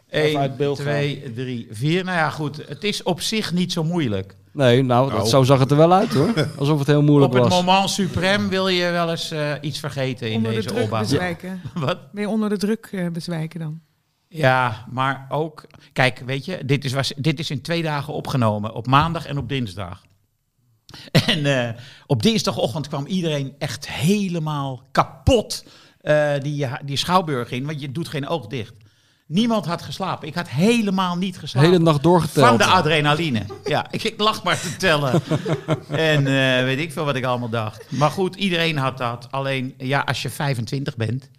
S4: 1,
S2: uit beeld
S4: 2, 3, 4. Nou ja, goed. Het is op zich niet zo moeilijk.
S2: Nee, nou, dat, zo zag het er wel uit hoor. Alsof het heel moeilijk
S4: op het
S2: was.
S4: moment suprem wil je wel eens eh, iets vergeten in
S5: onder de
S4: deze
S5: druk
S4: opbouw.
S5: bezwijken.
S4: Wat?
S5: Meer onder de druk eh, bezwijken dan.
S4: Ja, maar ook... Kijk, weet je, dit is, was, dit is in twee dagen opgenomen. Op maandag en op dinsdag. En eh, op dinsdagochtend kwam iedereen echt helemaal kapot eh, die, die schouwburg in. Want je doet geen oog dicht. Niemand had geslapen. Ik had helemaal niet
S2: De
S4: geslapen.
S2: hele nacht
S4: Van
S2: doorgeteld.
S4: de adrenaline. Ja, ik, ik lag maar te tellen. en eh, weet ik veel wat ik allemaal dacht. Maar goed, iedereen had dat. Alleen, ja, als je 25 bent,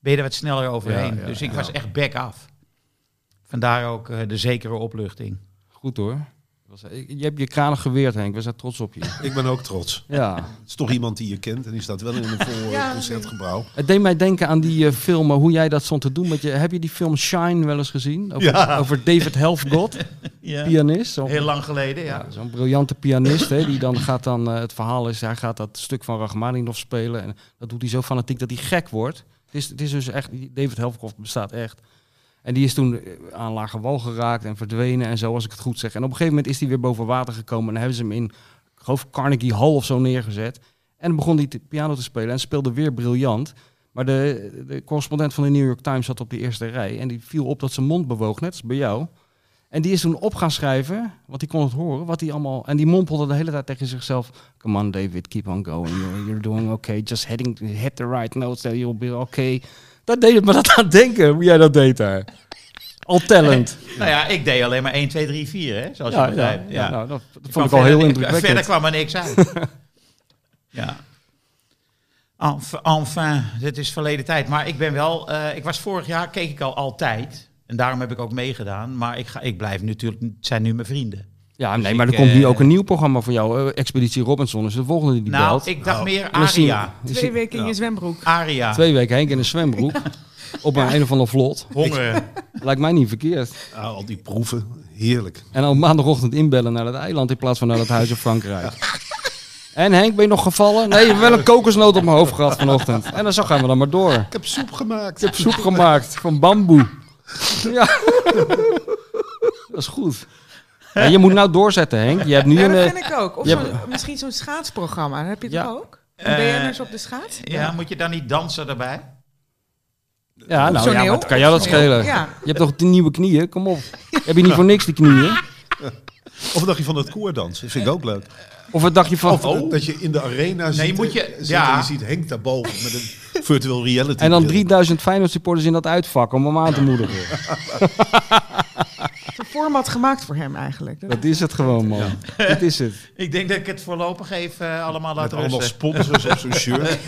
S4: ben je er wat sneller overheen.
S2: Ja, ja,
S4: dus ik
S2: ja.
S4: was echt back af. Vandaar ook eh, de zekere opluchting.
S2: Goed hoor. Dat was- ik- Je hebt je kranig geweerd, Henk. We zijn trots op je.
S1: Ik ben ook trots.
S2: Ja.
S1: Het is toch iemand die je kent en die staat wel in een vol eh, concertgebouw.
S2: Het deed mij denken aan die eh, film, eh, hoe jij dat stond te doen. Met je, heb je die film Shine wel eens gezien? Over,
S4: Ja.
S2: over David Helfgott,
S4: Ja.
S2: pianist. Zo'n-
S4: Heel lang geleden, ja.
S2: ja, zo'n briljante pianist. Hè, die dan gaat dan, eh, het verhaal is, hij gaat dat stuk van Rachmaninoff spelen. En dat doet hij zo fanatiek dat hij gek wordt. Het is, het is dus echt, David Helfgott bestaat echt. En die is toen eh, aan lage wal geraakt en verdwenen en zo, als ik het goed zeg. En op een gegeven moment is hij weer boven water gekomen. En hebben ze hem in, ik geloof, Carnegie Hall of zo neergezet. En dan begon hij te- piano te spelen en speelde weer briljant. Maar de, de correspondent van de New York Times zat op de eerste rij. En die viel op dat zijn mond bewoog, net als bij jou. En die is toen op gaan schrijven, want die kon het horen, wat hij allemaal... En die mompelde de hele tijd tegen zichzelf... Come on, David, keep on going. You're, you're doing okay. Just heading, hit the right notes. then You'll be okay. Dat deed het me dat aan denken, hoe jij dat deed daar. Al talent.
S4: Nou ja, ik deed alleen maar 1, 2, 3, 4, hè, zoals je begrijpt. Ja.
S2: nou, dat, dat
S4: Ik
S2: vond ik
S4: kwam
S2: al heel
S4: verder- Verder
S2: indrukwekkend.
S4: kwam er niks uit. ja. Enfin, enfin, dit is verleden tijd. Maar ik ben wel... eh, ik was vorig jaar, keek ik al altijd. En daarom heb ik ook meegedaan. Maar ik, ga, ik blijf natuurlijk... Het zijn nu mijn vrienden.
S2: Ja,
S4: Dus
S2: nee, maar
S4: ik,
S2: er komt nu
S4: eh,
S2: ook een nieuw programma voor jou. eh, Expeditie Robinson is de volgende die die
S4: nou,
S2: belt.
S4: ik dacht meer
S2: En dan zien we-
S4: Aria.
S2: dan
S5: Twee
S2: zien-
S5: weken in je zwembroek.
S4: Aria.
S2: Twee weken Henk in een zwembroek. Op een, een of ander vlot.
S4: Honger.
S2: Lijkt mij niet verkeerd.
S1: Ah, al die proeven, heerlijk.
S2: En dan maandagochtend inbellen naar het eiland in plaats van naar het huis in Frankrijk. En Henk, ben je nog gevallen? Nee, ik heb wel een kokosnoot op mijn hoofd gehad vanochtend. En dan zo gaan we dan maar door.
S1: Ik heb soep gemaakt.
S2: Ik heb soep gemaakt van bamboe. Ja. Dat is goed. Ja, je moet nou doorzetten, Henk. Je hebt nu
S5: Ja,
S2: een...
S5: dat
S2: eh,
S5: vind ik ook. Of
S2: je hebt-
S5: zo'n- misschien zo'n schaatsprogramma. Heb je dat
S2: Ja.
S5: ook? Een
S4: Eh,
S5: BN'ers op de schaats?
S4: Ja, moet je dan niet dansen daarbij?
S2: Ja, nou ja,
S5: Zoneel.
S2: wat kan jou dat
S5: Zoneel.
S2: schelen?
S5: Ja.
S2: Je hebt toch die nieuwe knieën? Kom op. Heb je niet voor niks die knieën?
S1: Of een dagje van het koordansen, vind ik ook leuk.
S2: Of oh. wat dacht je van...
S1: Of dat je in de arena zit,
S4: Oh. moet je-
S1: eh, zit
S4: ja.
S1: en je ziet Henk daarboven met een virtual reality.
S2: En dan
S1: bril.
S2: 3000 Feyenoord supporters in dat uitvak om hem aan te moedigen.
S5: Een format gemaakt voor hem eigenlijk. Dat-
S2: Dat is het gewoon, man. Dat is het.
S4: Ik denk dat ik het voorlopig even eh, allemaal laat
S1: Met allemaal
S4: rusten.
S1: sponsors op zo'n shirt.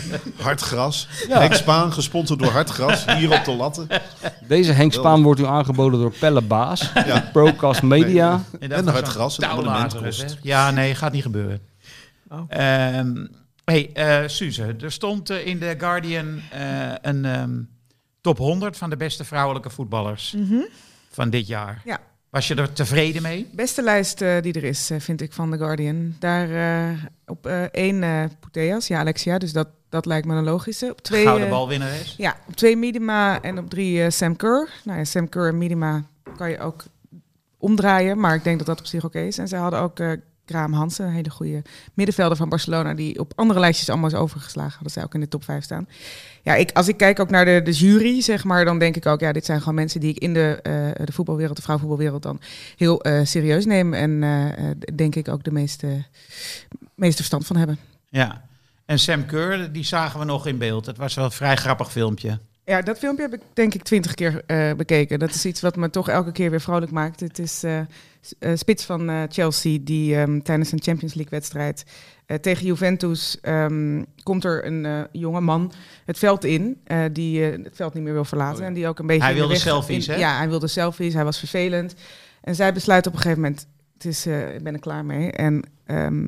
S1: Hartgras.
S2: Ja.
S1: Henk Spaan, gesponsord door Hartgras. Hier op de latten.
S2: Deze Henk Spaan wordt u aangeboden door Pelle Baas, Procast Media.
S4: En,
S1: En Hartgras, een abonnement
S4: touwladeren,
S1: kost.
S4: zeg. Ja, nee, gaat niet gebeuren.
S5: Oh.
S4: Ehm, hey, eh, Suze, er stond eh, in The Guardian eh, een ehm, top 100 van de beste vrouwelijke voetballers van dit jaar.
S5: Mhm. Ja.
S4: Was je er tevreden mee?
S5: Beste lijst eh, die er is, eh, vind ik, van The Guardian. Daar eh, op eh, één eh Puteas, ja, Alexia, dus dat, dat lijkt me een logische. Op twee,
S4: Gouden
S5: eh,
S4: balwinnares.
S5: ja, op twee Midima en op drie eh, Sam Kerr. Nou ja, Sam Kerr en Midima kan je ook omdraaien, maar ik denk dat dat op zich oké is. En zij hadden ook eh Graham Hansen, een hele goede middenvelder van Barcelona, die op andere lijstjes allemaal is overgeslagen. Hadden zij ook in de top 5 staan. Ja, ik, als ik kijk ook naar de, de jury, zeg maar, dan denk ik ook, ja, dit zijn gewoon mensen die ik in de, eh, de voetbalwereld, de vrouwenvoetbalwereld, dan heel eh, serieus neem. En eh, eh, denk ik ook de meeste, meeste verstand van hebben.
S4: Ja. En Sam Kerr, die zagen we nog in beeld. Het was wel een vrij grappig filmpje.
S5: Ja, dat filmpje heb ik denk ik twintig keer eh, bekeken. Dat is iets wat me toch elke keer weer vrolijk maakt. Het is eh, s- eh, spits van eh, Chelsea die ehm, tijdens een Champions League wedstrijd eh, tegen Juventus ehm, komt er een eh, jonge man het veld in eh, die eh, het veld niet meer wil verlaten en die ook een beetje
S4: Oh Hij
S5: in de
S4: wilde
S5: weg-
S4: selfies,
S5: in-
S4: hè?
S5: Ja, hij wilde selfies. Hij was vervelend en zij besluit op een gegeven moment: het is, eh, ik ben er klaar mee en ehm,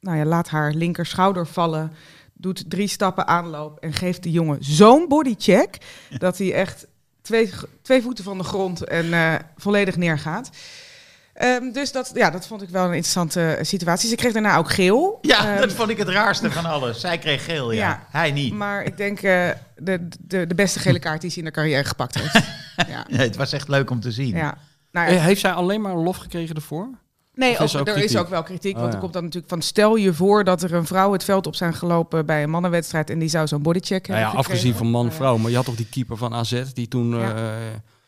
S5: nou ja, laat haar linker schouder vallen. Doet drie stappen aanloop en geeft de jongen zo'n bodycheck. dat hij echt twee, twee voeten van de grond en eh, volledig neergaat. Eh, Ehm, dus dat, ja, dat vond ik wel een interessante eh, situatie. Ze kreeg daarna ook geel.
S4: Ja,
S5: Ehm,
S4: dat vond ik het raarste van alles. Zij kreeg geel, ja.
S5: Ja.
S4: Hij niet.
S5: Maar ik denk eh, de, de, de beste gele kaart die ze in haar carrière gepakt heeft. ja.
S4: Nee, het was echt leuk om te zien.
S5: ja. Nou, ja.
S2: Eh, Heeft zij alleen maar lof gekregen ervoor?
S5: Nee,
S2: Of
S5: ook,
S2: is er ook
S5: er is
S2: kritiek?
S5: ook wel kritiek.
S2: Oh,
S5: Want er
S2: ja.
S5: komt dan natuurlijk van... stel je voor dat er een vrouw het veld op zijn gelopen... bij een mannenwedstrijd en die zou zo'n bodycheck
S2: Nou
S5: hebben
S2: ja, afgezien
S5: gekregen.
S2: van man-vrouw. Maar je had toch die keeper van AZ die toen...
S5: Ja.
S2: eh,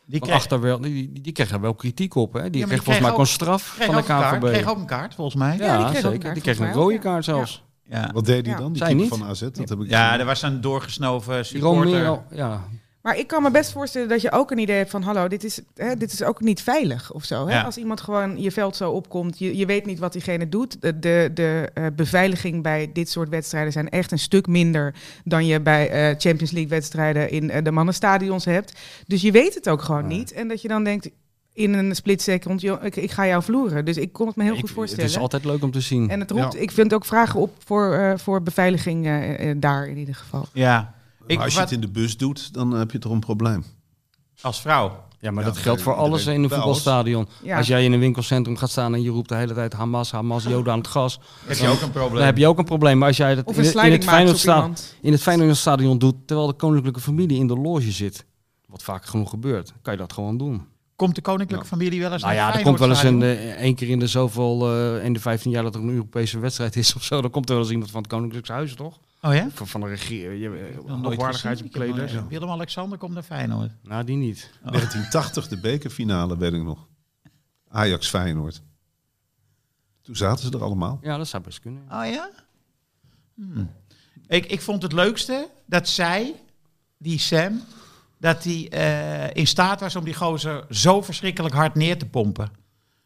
S4: Die
S2: van
S4: kreeg,
S2: achter wel, die, die- die kreeg er wel kritiek op. Hè? Die
S4: die
S2: kreeg volgens mij
S4: kreeg
S2: ook een straf
S4: kreeg
S2: van de
S4: ook een kaart,
S2: KVB.
S4: kreeg ook een kaart, volgens mij.
S2: ja,
S4: Ja,
S5: Ja, die kreeg ook
S2: zeker.
S5: een kaart,
S2: die kreeg een
S5: volgens mij
S2: rode
S5: ook, ja.
S2: kaart zelfs.
S4: ja.
S1: Wat deed hij
S5: Ja.
S1: dan? Die
S2: Zij
S1: keeper
S2: niet.
S1: van AZ? Dat heb ik
S4: er was een doorgesnoven
S2: Die
S4: supporter.
S2: Romero, ja.
S5: Maar ik kan me best voorstellen dat je ook een idee hebt van... hallo, dit is, hè, dit is ook niet veilig of zo. Hè?
S4: Ja.
S5: Als iemand gewoon je veld zo opkomt... je, je weet niet wat diegene doet. De, de, de, eh, beveiliging bij dit soort wedstrijden zijn echt een stuk minder... dan je bij eh, Champions League wedstrijden in eh, de mannenstadions hebt. Dus je weet het ook gewoon niet. En dat je dan denkt... In een split second, joh, ik, ik ga jou vloeren. Dus ik kon het me heel
S2: Ik-
S5: goed voorstellen.
S2: Het is altijd leuk om te zien.
S5: En het roept,
S1: Ja.
S5: ik vind ook vragen op voor, eh, voor beveiliging eh, eh, daar in ieder geval.
S4: Ja. Ik,
S1: maar als je
S4: wat-
S1: het in de bus doet, dan heb je toch een probleem.
S4: Als vrouw.
S2: ja, maar
S1: Ja,
S2: dat geldt voor
S1: iedereen-
S2: alles in een
S1: bij alles.
S2: voetbalstadion.
S5: Ja.
S2: Als jij in een winkelcentrum gaat staan en je roept de hele tijd Hamas, Hamas, Joden aan het gas.
S4: Heb je ook een probleem?
S2: Dan heb je ook een probleem. Maar als jij dat
S5: Of
S2: in,
S5: een
S2: het- in het
S5: sliding maakt op
S2: Feyenoordsta-
S5: iemand.
S2: in het Feyenoordstadion doet, terwijl de koninklijke familie in de loge zit. Wat vaak genoeg gebeurt, kan je dat gewoon doen.
S4: Komt de koninklijke familie wel eens
S2: Nou
S4: naar
S2: ja,
S4: het
S2: er komt wel eens een,
S4: Feyenoordstadion?
S2: eh, één keer in de zoveel, eh in de 15 jaar dat er een Europese wedstrijd is of zo, dan komt er wel eens iemand van het Koninklijk Huis, toch?
S4: Oh ja?
S2: Van, van de regering,
S4: Nog nooit
S2: eh, hoogwaardigheidsbekleders.
S4: gezien. eh, Willem-Alexander komt naar Feyenoord.
S2: Nou, die niet.
S4: Oh.
S1: 1980, de bekerfinale, weet ik nog. Ajax-Feyenoord. Toen zaten ze er allemaal.
S2: Ja, dat zou best kunnen.
S4: Oh ja? Hmm. Ik, ik vond het leukste dat zij, die Sam, dat die eh, in staat was om die gozer zo verschrikkelijk hard neer te pompen.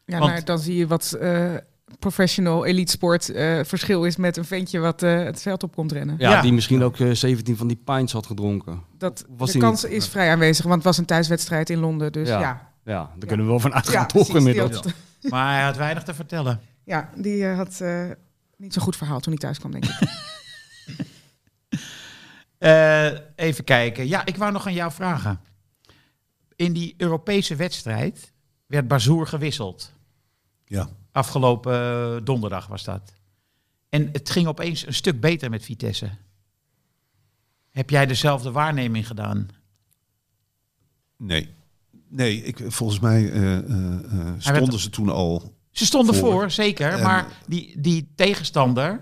S5: Ja,
S4: Want-
S5: maar dan zie je wat eh, professional elite sport eh, verschil is met een ventje wat eh, het veld op komt rennen.
S2: Ja,
S4: Ja.
S2: die misschien ook eh, 17 van die pints had gedronken.
S5: Dat,
S2: Was
S5: de
S2: die
S5: kans is vrij aanwezig, want het was een thuiswedstrijd in Londen. Dus
S2: Ja.
S5: ja, ja.
S2: Ja, daar kunnen we wel van uitgaan,
S5: precies,
S2: toch
S5: die
S2: inmiddels.
S5: had-
S4: Maar hij had weinig te vertellen.
S5: Ja, die eh, had eh, niet zo'n goed verhaal toen hij thuis kwam, denk ik.
S4: Eh, even kijken. Ja, ik wou nog aan jou vragen. In die Europese wedstrijd werd Bazoer gewisseld.
S1: Ja.
S4: Afgelopen eh, donderdag was dat. En het ging opeens een stuk beter met Vitesse. Heb jij dezelfde waarneming gedaan?
S1: Nee. Nee, ik, volgens mij eh, eh, eh, stonden ze toen al
S4: Ze stonden voor,
S1: Voor.
S4: zeker.
S1: En-
S4: maar die, die tegenstander,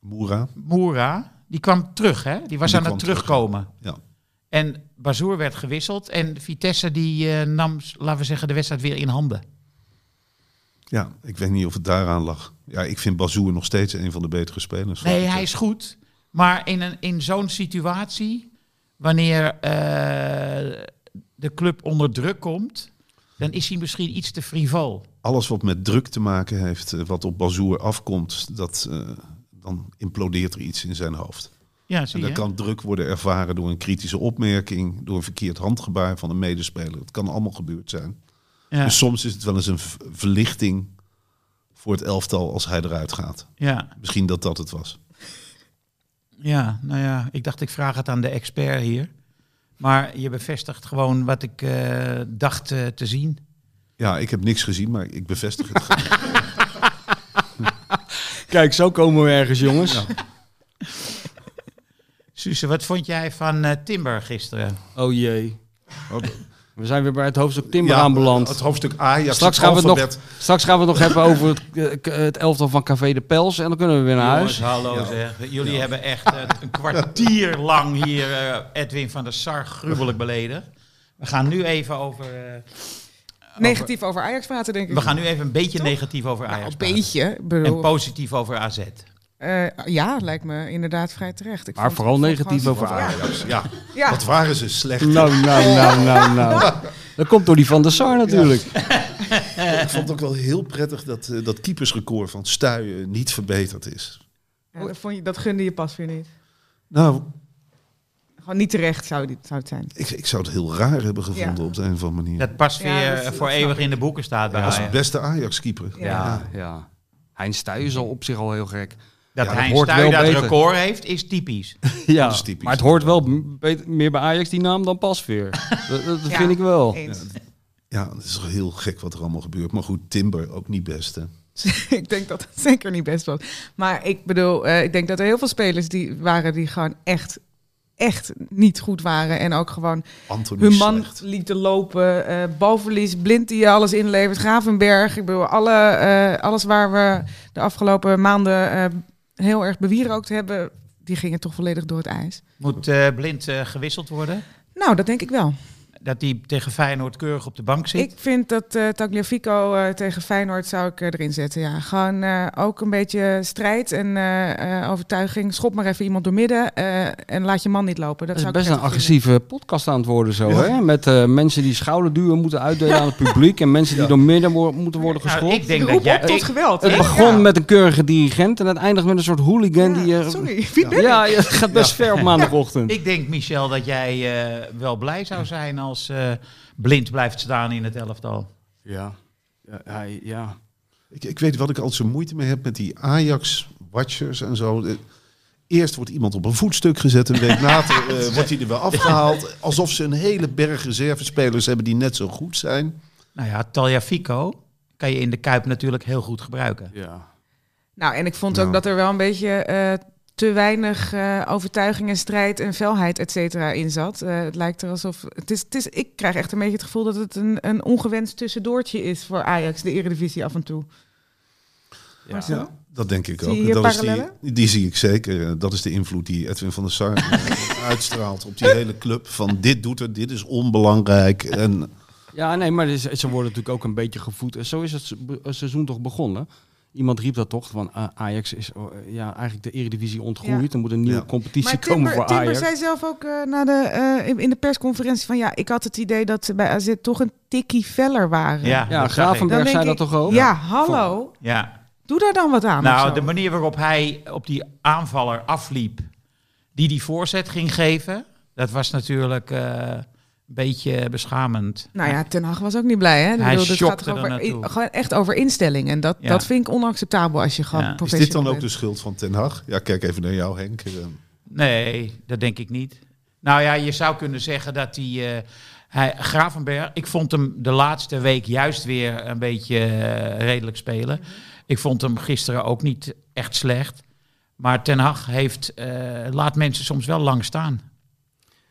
S1: Moera.
S4: Moura, die kwam terug, hè? Die was
S1: Die
S4: aan het
S1: kwam terug,
S4: terugkomen.
S1: Ja.
S4: En Bazoer werd gewisseld. En Vitesse die eh, nam, s- laten we zeggen, de wedstrijd weer in handen.
S1: ja, ik weet niet of het daaraan lag. Ja, ik vind Bazoer nog steeds een van de betere spelers.
S4: Nee, hij is goed. Maar in, een, in zo'n situatie, wanneer eh, de club onder druk komt, dan is hij misschien iets te frivol.
S1: Alles wat met druk te maken heeft, eh, wat op Bazoer afkomt, dat, eh, dan implodeert er iets in zijn hoofd.
S4: Ja, zie
S1: En
S4: je.
S1: dat kan druk worden ervaren door een kritische opmerking, door een verkeerd handgebaar van een medespeler. Het kan allemaal gebeurd zijn.
S4: Ja,
S1: Dus soms is het wel eens een v- verlichting voor het elftal als hij eruit gaat.
S4: ja,
S1: Misschien dat dat het was.
S4: ja, nou ja, ik dacht ik vraag het aan de expert hier. Maar je bevestigt gewoon wat ik eh, dacht eh, te zien.
S1: Ja, ik heb niks gezien, maar ik bevestig het. gewoon.
S2: Kijk, zo komen we ergens, jongens.
S4: Suze, wat vond jij van eh, Timber gisteren?
S2: Oh jee.
S1: Oh, dat-
S2: We zijn weer bij het hoofdstuk Timber
S1: Ja,
S2: aanbeland.
S1: Het hoofdstuk Ajax.
S2: Straks
S1: het
S2: gaan, we het nog,
S1: alfabet.
S2: straks gaan we het nog hebben over het, eh, k- het elftal van Café de Pels. En dan kunnen we weer naar huis.
S4: hallo zeg. Jullie hebben echt eh, een kwartier lang hier eh, Edwin van der Sar gruwelijk beledigd. We gaan nu even over... eh,
S5: Negatief over Ajax praten, denk ik.
S4: we gaan nu even een beetje negatief over
S5: Nou,
S4: Ajax
S5: een
S4: praten.
S5: beetje. ik Bedoel,
S4: En positief over AZ.
S5: eh, ja, lijkt me inderdaad vrij terecht. Ik
S2: Maar
S5: vond-
S2: vooral
S5: ik vond
S2: negatief
S5: gewoon-
S2: over Ajax.
S1: Ja,
S5: Ja,
S1: wat waren ze slecht.
S2: Nou, nou, nou, nou, nou. Dat komt door die Van der Sar natuurlijk.
S1: Ik vond het ook wel heel prettig dat eh, dat keepersrecord van Stuyen niet verbeterd is.
S5: Ja, dat, vond je, dat gunde je pas weer niet.
S1: Nou,
S5: Gewoon niet terecht zou, dit, zou het zijn.
S1: ik, ik zou het heel raar hebben gevonden op de een of andere manier.
S4: Dat pas
S5: Ja,
S4: weer
S5: dat-
S4: eh,
S5: dat
S4: voor
S5: snap
S4: eeuwig
S5: ik.
S4: in de boeken staat bij
S1: Als de
S4: Ajax.
S1: beste Ajax-keeper.
S5: Ja.
S2: Ja, ja. Hein Stuy is al op zich al heel gek.
S4: Dat hij
S1: Ja, dat
S4: Hein
S2: hoort
S4: Stuy
S2: wel
S4: dat
S2: beter.
S4: record heeft, is typisch.
S2: Ja,
S1: Dat is typisch.
S2: maar het hoort wel m- beter- meer bij Ajax die naam dan Pasveer. Dat, dat
S5: Ja.
S2: vind ik wel.
S5: Eens.
S1: Ja, het is toch heel gek wat er allemaal gebeurt. Maar goed, Timber ook niet best, hè?
S5: ik denk dat het zeker niet best was. Maar ik bedoel, eh, ik denk dat er heel veel spelers die waren die gewoon echt, echt niet goed waren. En ook gewoon
S1: Anthony
S5: hun man
S1: slecht.
S5: lieten lopen. eh balverlies, blind die alles inlevert. Gravenberg. Ik bedoel, alle, eh, alles waar we de afgelopen maanden eh, heel erg bewierookt hebben. Die gingen toch volledig door het ijs.
S4: Moet eh, blind eh, gewisseld worden?
S5: Nou, dat denk ik wel.
S4: Dat die tegen Feyenoord keurig op de bank zit?
S5: Ik vind dat eh Tagliafico eh, tegen Feyenoord zou ik eh, erin zetten. Ja. Gewoon eh, ook een beetje strijd en eh, eh, overtuiging. Schop maar even iemand doormidden eh en laat je man niet lopen. Dat,
S2: Dat is
S5: zou
S2: best
S5: ik
S2: een
S5: prettig
S2: agressieve podcast aan het worden zo.
S1: Ja.
S2: Hè? Met eh, mensen die schouderduwen moeten uitdelen aan het publiek. En mensen die
S1: Ja.
S2: door midden wo- moeten worden
S4: Nou,
S2: geschopt.
S4: ik denk
S5: vinden.
S4: dat
S5: Roep
S4: jij...
S5: op tot
S4: ik-
S5: geweld.
S2: het
S5: hè?
S2: begon
S5: Ja.
S2: met een keurige dirigent. En het eindigt met een soort hooligan.
S5: Ja,
S2: die, eh,
S5: sorry, wie ben ik?
S2: Ja, ja, het gaat best ver op maandagochtend.
S4: Ik denk, Michel, dat jij eh, wel blij zou zijn als eh, blind blijft staan in het elftal.
S2: Ja. Ja, hij- ja.
S1: Ik, ik weet wat ik altijd zo moeite mee heb met die Ajax-watchers en zo. Eh, Eerst wordt iemand op een voetstuk gezet, een week later eh, wordt hij er weer afgehaald. Alsof ze een hele berg reservespelers hebben die net zo goed zijn.
S4: Nou ja, Talja Fico kan je in de Kuip natuurlijk heel goed gebruiken.
S2: ja.
S5: Nou, en ik vond
S1: Ja.
S5: ook dat er wel een beetje eh, te weinig eh, overtuiging en strijd en felheid, et cetera, in zat. Eh, het lijkt er alsof... Het is, het is, ik krijg echt een beetje het gevoel dat het een, een ongewenst tussendoortje is voor Ajax, de Eredivisie af en toe.
S2: Ja.
S1: Dat denk ik
S5: Zie
S1: ook.
S5: je hier
S1: dat is die,
S5: parallellen?
S1: die zie ik zeker. Eh, Dat is de invloed die Edwin van der Sar eh, uitstraalt op die hele club. Van dit doet er, dit is onbelangrijk. En
S2: Ja, nee, maar ze ze worden natuurlijk ook een beetje gevoed. En Zo is het se- be- seizoen toch begonnen. Iemand riep dat toch, van eh, Ajax is eh, ja, eigenlijk de Eredivisie ontgroeid. Er moet een nieuwe
S1: Ja.
S2: competitie
S5: Maar
S2: komen
S5: Timber,
S2: voor
S5: Timber
S2: Ajax.
S5: zei zelf ook eh, na de, eh, in- in de persconferentie van ja, ik had het idee dat ze bij AZ toch een tikkie feller waren.
S4: dat zag
S2: ja,
S4: ik.
S5: Dan
S2: Gravenberg
S5: denk
S2: zei
S5: ik,
S2: dat toch ook?
S5: Ja, hallo,
S4: Ja,
S5: doe daar dan wat aan. of
S4: Nou,
S5: zo.
S4: de manier waarop hij op die aanvaller afliep, die die voorzet ging geven, dat was natuurlijk eh, een beetje beschamend.
S5: Nou ja, Ten Hag was ook niet blij. Hè? Ik
S4: Hij
S5: dit
S4: schokte
S5: toch
S4: er
S5: over,
S4: naartoe.
S5: i- gewoon echt over instelling. En dat,
S4: Ja.
S5: dat vind ik onacceptabel als je gewoon
S4: Ja. Is dit
S1: is dit dan
S5: professional
S1: ook de
S5: bent.
S1: schuld van Ten Hag? Ja, kijk even naar jou Henk. Eh,
S4: Nee, dat denk ik niet. Nou ja, je zou kunnen zeggen dat die, eh, hij. Gravenberg, ik vond hem de laatste week juist weer een beetje eh, redelijk spelen. Ik vond hem gisteren ook niet echt slecht. Maar Ten Hag heeft, eh, laat mensen soms wel lang staan.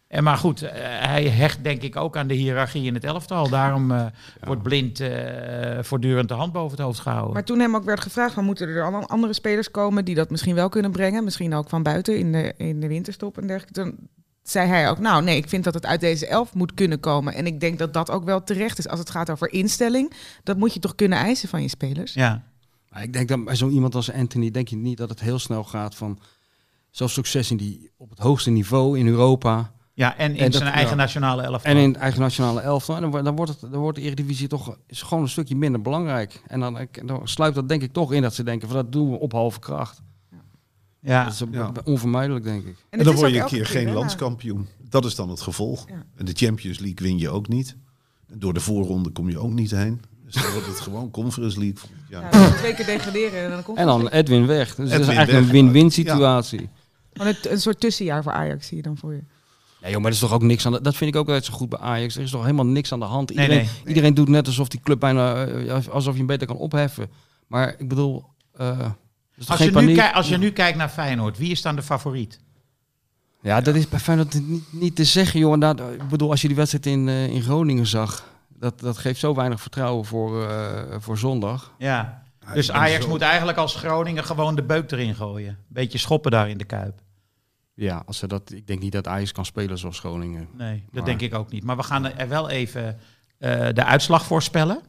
S4: En maar goed, eh, hij hecht denk ik ook aan de hiërarchie in het elftal. Daarom eh, wordt blind eh, voortdurend de hand boven het hoofd gehouden.
S5: Maar toen hem ook werd gevraagd, van, moeten er dan andere spelers komen die dat misschien wel kunnen brengen? Misschien ook van buiten in de, in de winterstop en dergelijke. Toen zei hij ook, nou nee, ik vind dat het uit deze elf moet kunnen komen. En ik denk dat dat ook wel terecht is. Als het gaat over instelling, dat moet je toch kunnen eisen van je spelers?
S4: ja.
S2: Maar ik denk dat bij zo iemand als Anthony, denk je niet dat het heel snel gaat van zelfs succes in die, op het hoogste niveau in Europa
S4: ja, en in
S2: En dat-
S4: zijn eigen
S2: ja.
S4: nationale elftal.
S2: en in het eigen nationale elftal. En dan, wo- dan, wordt, het, dan wordt de Eredivisie toch is gewoon een stukje minder belangrijk. En dan, ik- dan sluit dat denk ik toch in dat ze denken van dat doen we op halve kracht.
S4: ja.
S2: Dat is
S1: ja.
S2: onvermijdelijk denk ik.
S1: En,
S5: het
S1: dan word
S5: is ook
S1: je een
S5: elke
S1: keer geen
S5: hè, nou.
S1: landskampioen. Dat is dan het gevolg.
S5: Ja.
S1: En de Champions League win je ook niet. En door de voorronde kom je ook niet heen. Dus dan wordt het gewoon Conference League. volgend jaar.
S5: Ja, dus twee keer degraderen en dan komt
S2: En dan Edwin weg. Dus dat
S1: Edwin
S2: is eigenlijk
S1: weg.
S2: een win-win situatie.
S5: Gewoon een, een soort tussenjaar voor Ajax zie je dan voor je.
S2: Nee, joh, maar er is toch ook niks aan de, Dat vind ik ook altijd zo goed bij Ajax. Er is toch helemaal niks aan de hand.
S4: Nee,
S2: Iedereen,
S4: nee.
S2: iedereen doet net alsof die club bijna. eh, alsof je hem beter kan opheffen. Maar ik bedoel. eh, er is toch
S4: Als
S2: geen
S4: je, nu
S2: paniek.
S4: kijkt, als je nu kijkt naar Feyenoord, wie is dan de favoriet?
S2: Ja, dat is bij Feyenoord niet, niet te zeggen, joh. Inderdaad, eh, ik bedoel, als je die wedstrijd in, eh, in Groningen zag. Dat, dat geeft zo weinig vertrouwen voor, eh, voor zondag.
S4: Ja.
S1: Ja,
S4: Dus
S1: ik ben
S4: Ajax
S1: zo-
S4: moet eigenlijk als Groningen gewoon de beuk erin gooien. Beetje schoppen daar in de kuip.
S2: Ja, als ze dat, ik denk niet dat Ajax kan spelen zoals Groningen.
S4: Nee, dat
S2: Maar-
S4: denk ik ook niet. Maar we gaan er wel even eh, de uitslag voorspellen.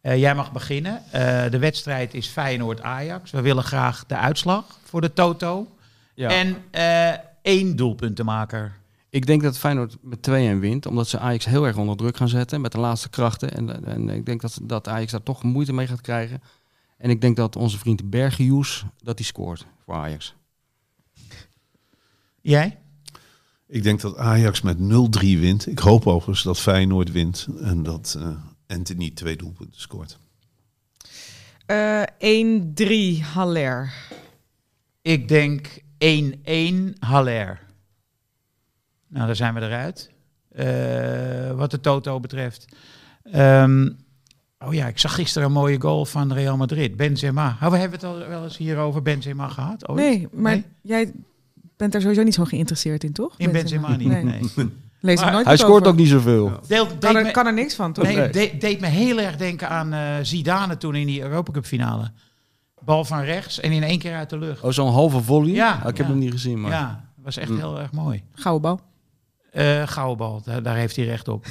S4: Eh, jij mag beginnen. Eh, de wedstrijd is Feyenoord-Ajax. We willen graag de uitslag voor de Toto.
S2: Ja.
S4: En eh één doelpuntenmaker.
S2: Ik denk dat Feyenoord met 2-1 wint, omdat ze Ajax heel erg onder druk gaan zetten met de laatste krachten. En, eh, en ik denk dat, dat Ajax daar toch moeite mee gaat krijgen. En ik denk dat onze vriend Bergius, dat hij scoort voor Ajax.
S4: Jij?
S1: Ik denk dat Ajax met 0-3 wint. Ik hoop overigens dat Feyenoord wint. En dat eh, Anthony twee doelpunten scoort.
S5: Eh 1-3 Haller.
S4: Ik denk 1-1 Haller. Nou, daar zijn we eruit. Eh, wat de Toto betreft. Ehm, oh ja, ik zag gisteren een mooie goal van Real Madrid. Benzema. Oh, we hebben het al wel eens hier over Benzema gehad. ooit?
S5: Nee, maar
S4: Nee?
S5: jij bent daar sowieso niet zo geïnteresseerd in, toch?
S4: In Benzema niet.
S5: Nee.
S4: Nee.
S5: Lees er
S4: Maar
S5: nooit
S2: Hij
S5: wat
S2: scoort
S5: over.
S2: ook niet zoveel.
S4: Deel-
S5: Kan
S4: deed
S5: er,
S4: me-
S5: kan er niks van, toch?
S4: Nee,
S2: Nee.
S4: de- deed me heel erg denken aan eh, Zidane toen in die Europa Cup finale. Bal van rechts en in één keer uit de lucht.
S2: Oh, zo'n halve volley?
S4: Ja,
S2: Ah, ik
S4: ja.
S2: heb hem niet gezien, maar...
S4: Ja, was echt heel erg mooi.
S5: Gouden bal.
S4: Eh gouden bal, daar, daar heeft hij recht op.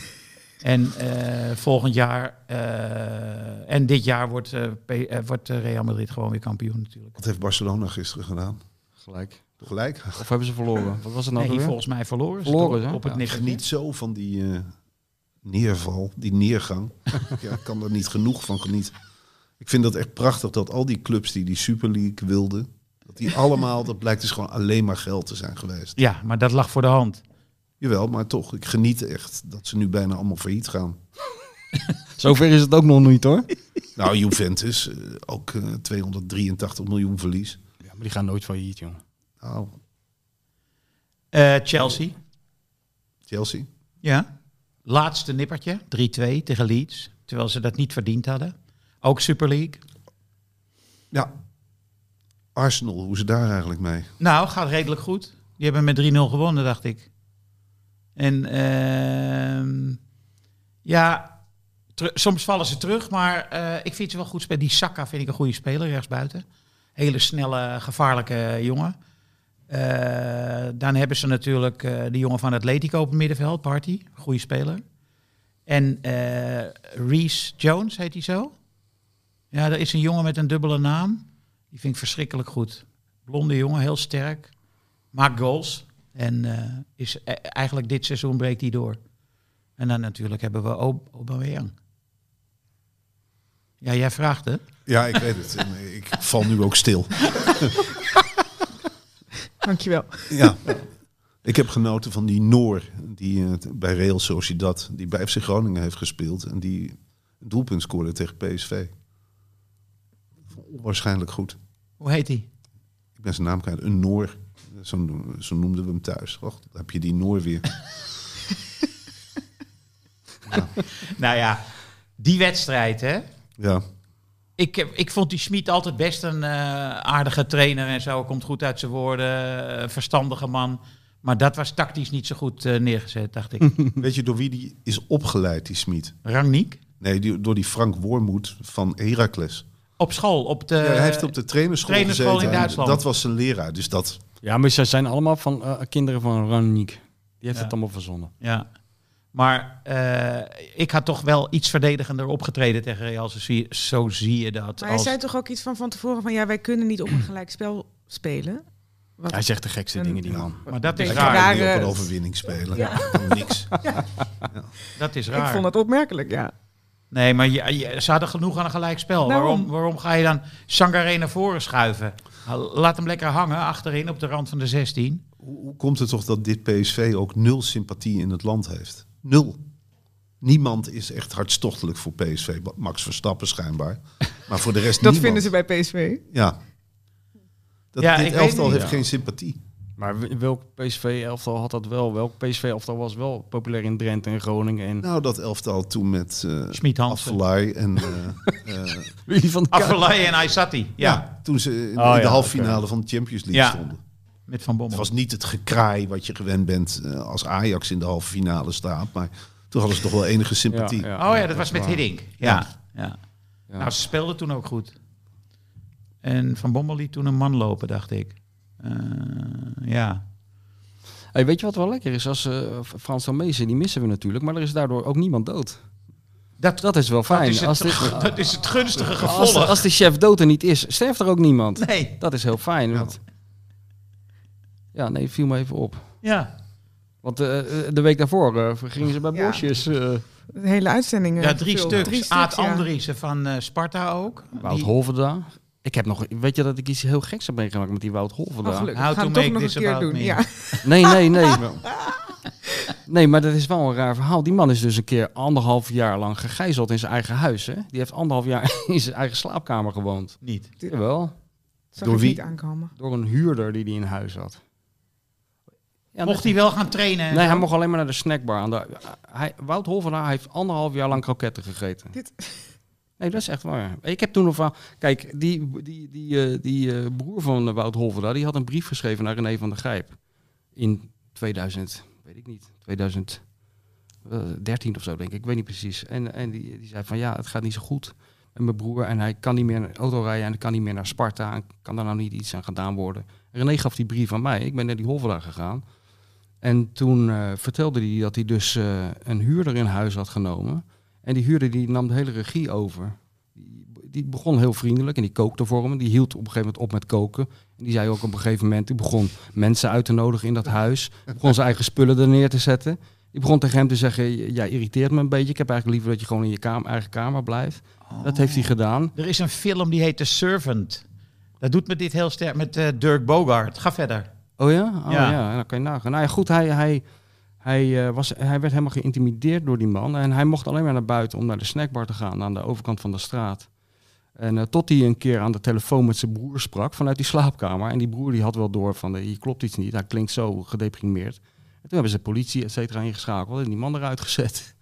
S4: En eh, volgend jaar eh, en dit jaar wordt, eh, P- eh, wordt eh, Real Madrid gewoon weer kampioen natuurlijk.
S1: Wat heeft Barcelona gisteren gedaan?
S2: Gelijk.
S1: Gelijk.
S2: Of hebben ze verloren? Wat was het nou
S4: Nee,
S2: weer?
S4: volgens mij verloren. ze
S2: Verloren,
S4: toch?
S2: hè?
S4: op het
S2: Ja.
S4: nippertje.
S1: Niet zo van die eh, neerval, die neergang. ja, ik kan er niet genoeg van genieten. Ik vind dat echt prachtig dat al die clubs die die Super League wilden, dat die allemaal, dat blijkt dus gewoon alleen maar geld te zijn geweest.
S4: Ja, maar dat lag voor de hand.
S1: Jawel, maar toch, ik geniet echt dat ze nu bijna allemaal failliet gaan.
S2: Zover is het ook nog niet, hoor.
S1: Nou, Juventus, eh, ook eh, 283 miljoen verlies.
S2: Ja, maar die gaan nooit failliet, joh.
S1: Nou,
S4: Eh, Chelsea,
S1: Chelsea.
S4: ja. Laatste nippertje, 3-2 tegen Leeds. Terwijl ze dat niet verdiend hadden. Ook Super League.
S1: Ja. Arsenal, hoe ze daar eigenlijk mee?
S4: Nou, gaat redelijk goed. Die hebben met 3-0 gewonnen, dacht ik. En ehm, ja, teru- soms vallen ze terug, maar eh, ik vind ze wel goed spelen. Die Saka vind ik een goede speler, rechtsbuiten. Hele snelle, gevaarlijke jongen. Eh, dan hebben ze natuurlijk eh de jongen van Atletico op het middenveld, Party. Goede speler. En eh Reese Jones, heet hij zo? Ja, dat is een jongen met een dubbele naam. Die vind ik verschrikkelijk goed. Blonde jongen, heel sterk. Maakt goals. En eh, is, e- eigenlijk dit seizoen breekt hij door. En dan natuurlijk hebben we Ob- Aubameyang. Ja, jij vraagt het.
S1: Ja, ik weet het. En ik val nu ook stil.
S5: Dankjewel.
S1: Ja. Ik heb genoten van die Noor, die eh, t- bij Real Sociedad, die bij FC Groningen heeft gespeeld. En die een doelpunt scoorde tegen PSV. Onwaarschijnlijk goed.
S4: Hoe heet hij?
S1: Ik ben zijn naam kwijt. Een Noor. Zo, no- zo noemden we hem thuis. Och, dan heb je die Noor weer.
S4: Nou ja, die wedstrijd, hè?
S1: Ja.
S4: Ik, heb- ik vond die Schmid altijd best een eh, aardige trainer en zo. Komt goed uit zijn woorden, eh, verstandige man. Maar dat was tactisch niet zo goed eh, neergezet, dacht ik.
S1: Weet je door wie die is opgeleid, die Smit?
S4: Rangnick?
S1: Nee, die- door die Frank Wormoed van Heracles.
S4: Op school, op de...
S1: Ja, hij heeft op de trainerschool,
S4: Eh, trainerschool in
S1: gezeten en
S4: Duitsland.
S1: Dat was zijn leraar. Dus dat,
S2: Ja, maar ze zijn allemaal van eh, kinderen van Raniek. Die heeft het allemaal verzonnen.
S4: Ja. Maar eh, ik had toch wel iets verdedigender opgetreden tegen Real. Zo zie, zo zie je dat.
S5: Maar hij
S4: als-
S5: zei toch ook iets van van tevoren van... ja, wij kunnen niet op een gelijk spel spelen. Wat
S2: Hij zegt de gekste
S5: Een-
S2: dingen, die man.
S4: maar dat is
S5: Hij
S1: hij
S4: raar.
S1: kan
S5: daar,
S1: niet op
S5: eh,
S1: een overwinning spelen.
S5: Ja.
S1: Niks.
S4: Dat is
S5: ik
S4: raar.
S5: vond het opmerkelijk, ja.
S4: Nee, maar je, je- ze hadden genoeg aan een gelijkspel.
S5: Daarom.
S4: Waarom, waarom ga je dan Sangaré naar voren schuiven? Laat hem lekker hangen achterin op de rand van de 16.
S1: Hoe hoe komt het toch dat dit PSV ook nul sympathie in het land heeft? Nul. Niemand is echt hartstochtelijk voor PSV. Max Verstappen schijnbaar. Maar voor de rest
S5: Dat
S1: niemand.
S5: vinden ze bij PSV.
S1: Ja. Dat,
S4: Ja, ik
S1: dit
S4: weet
S1: elftal
S4: niet.
S1: heeft geen sympathie.
S2: Maar w- welk PSV-elftal had dat wel? Welk PSV-elftal was wel populair in Drenthe en Groningen? En
S1: Nou, dat elftal toen met eh
S4: Schmid Hansen.
S1: Affelay en... eh, eh,
S2: Willy van der Kuik.
S4: Affelay en Aysati. Ja,
S1: ja. toen ze in, in
S2: Oh,
S1: de
S2: ja,
S1: halve finale van de Champions League
S4: Ja.
S1: stonden.
S4: met Van
S1: Het
S4: Bommel.
S1: was niet het gekraai wat je gewend bent eh, als Ajax in de halve finale staat. Maar toen hadden ze toch wel enige sympathie.
S4: Oh ja, dat was met
S2: waar.
S4: Hiddink. Ja. Ja. Nou, ze speelden toen ook goed. En Van Bommel liet toen een man lopen, dacht ik. Eh, ja.
S2: Hey, weet je wat wel lekker is? Als eh, F- Frans van Meesen, die missen we natuurlijk. Maar er is daardoor ook niemand dood.
S4: Dat-
S2: dat is wel fijn.
S4: Dat is het,
S2: als, dit-
S4: dat is het gunstige
S2: als, de,
S4: gevolg.
S2: als de chef dood er niet is, sterft er ook niemand.
S4: Nee.
S2: Dat is heel fijn. Want... Ja, nee, viel me even op.
S4: Ja.
S2: Want eh, eh, de week daarvoor eh, gingen ze bij
S5: Ja.
S2: Bosjes. eh
S5: De hele uitzending. eh,
S4: ja, drie
S5: gevuld.
S4: stuks.
S5: Drie
S4: Aad
S5: ja.
S4: Andriessen van eh, Sparta ook.
S2: Wout
S4: Die-
S2: Holverda. Ik heb nog, weet je dat ik iets heel geks heb meegemaakt met die Wout
S5: Oh,
S2: Holverda?
S5: gelukkig.
S4: How
S5: We gaan
S4: to make
S5: het toch nog
S4: this
S5: een keer
S4: about
S5: doen.
S4: me.
S5: Ja.
S2: Nee, nee, nee. Nee, maar dat is wel een raar verhaal. Die man is dus een keer anderhalf jaar lang gegijzeld in zijn eigen huis. Hè? Die heeft anderhalf jaar in zijn eigen slaapkamer gewoond.
S4: Niet.
S2: Jawel,
S5: Zag
S1: Door
S5: ik
S1: wie?
S5: niet aankomen.
S2: door een huurder die hij in huis had. Ja,
S4: Mocht hij wel gaan trainen? en
S2: Nee,
S4: zo?
S2: hij mocht alleen maar naar de snackbar. Aan de, hij, Wout Holverhaar heeft anderhalf jaar lang kroketten gegeten.
S5: Dit-
S2: Nee, dat is echt waar. Ik heb toen nog van... Kijk, die, die, die, eh, die eh, broer van eh, Wout Holverhaar... die had een brief geschreven naar René van der Gijp. In 2000, weet ik niet, 2013 of zo denk ik. Ik weet niet precies. En, en die, die zei van ja, het gaat niet zo goed met mijn broer. En hij kan niet meer een auto rijden en hij kan niet meer naar Sparta. En kan daar nou niet iets aan gedaan worden? René gaf die brief aan mij. Ik ben naar die Holverhaar gegaan. En toen eh, vertelde hij dat hij dus eh, een huurder in huis had genomen. En die huurder die nam de hele regie over. Die, die begon heel vriendelijk en die kookte voor hem. Die hield op een gegeven moment op met koken. En die zei ook op een gegeven moment, die begon mensen uit te nodigen in dat huis. Die begon zijn eigen spullen er neer te zetten. Die begon tegen hem te zeggen, jij irriteert me een beetje. Ik heb eigenlijk liever dat je gewoon in je kamer, eigen kamer blijft. Dat heeft hij gedaan.
S4: Er is een film die heet The Servant. Dat doet me dit heel sterk met eh, Dirk Bogart. Ga verder.
S2: Oh ja? Oh
S4: Ja.
S2: ja, dan kan je nagaan. Nou ja, goed, hij, hij, hij, eh, was, hij werd helemaal geïntimideerd door die man. En hij mocht alleen maar naar buiten om naar de snackbar te gaan aan de overkant van de straat. En eh, tot hij een keer aan de telefoon met zijn broer sprak vanuit die slaapkamer. En die broer die had wel door van, eh, hier klopt iets niet. Hij klinkt zo gedeprimeerd. En toen hebben ze politie, et cetera, ingeschakeld en die man eruit gezet.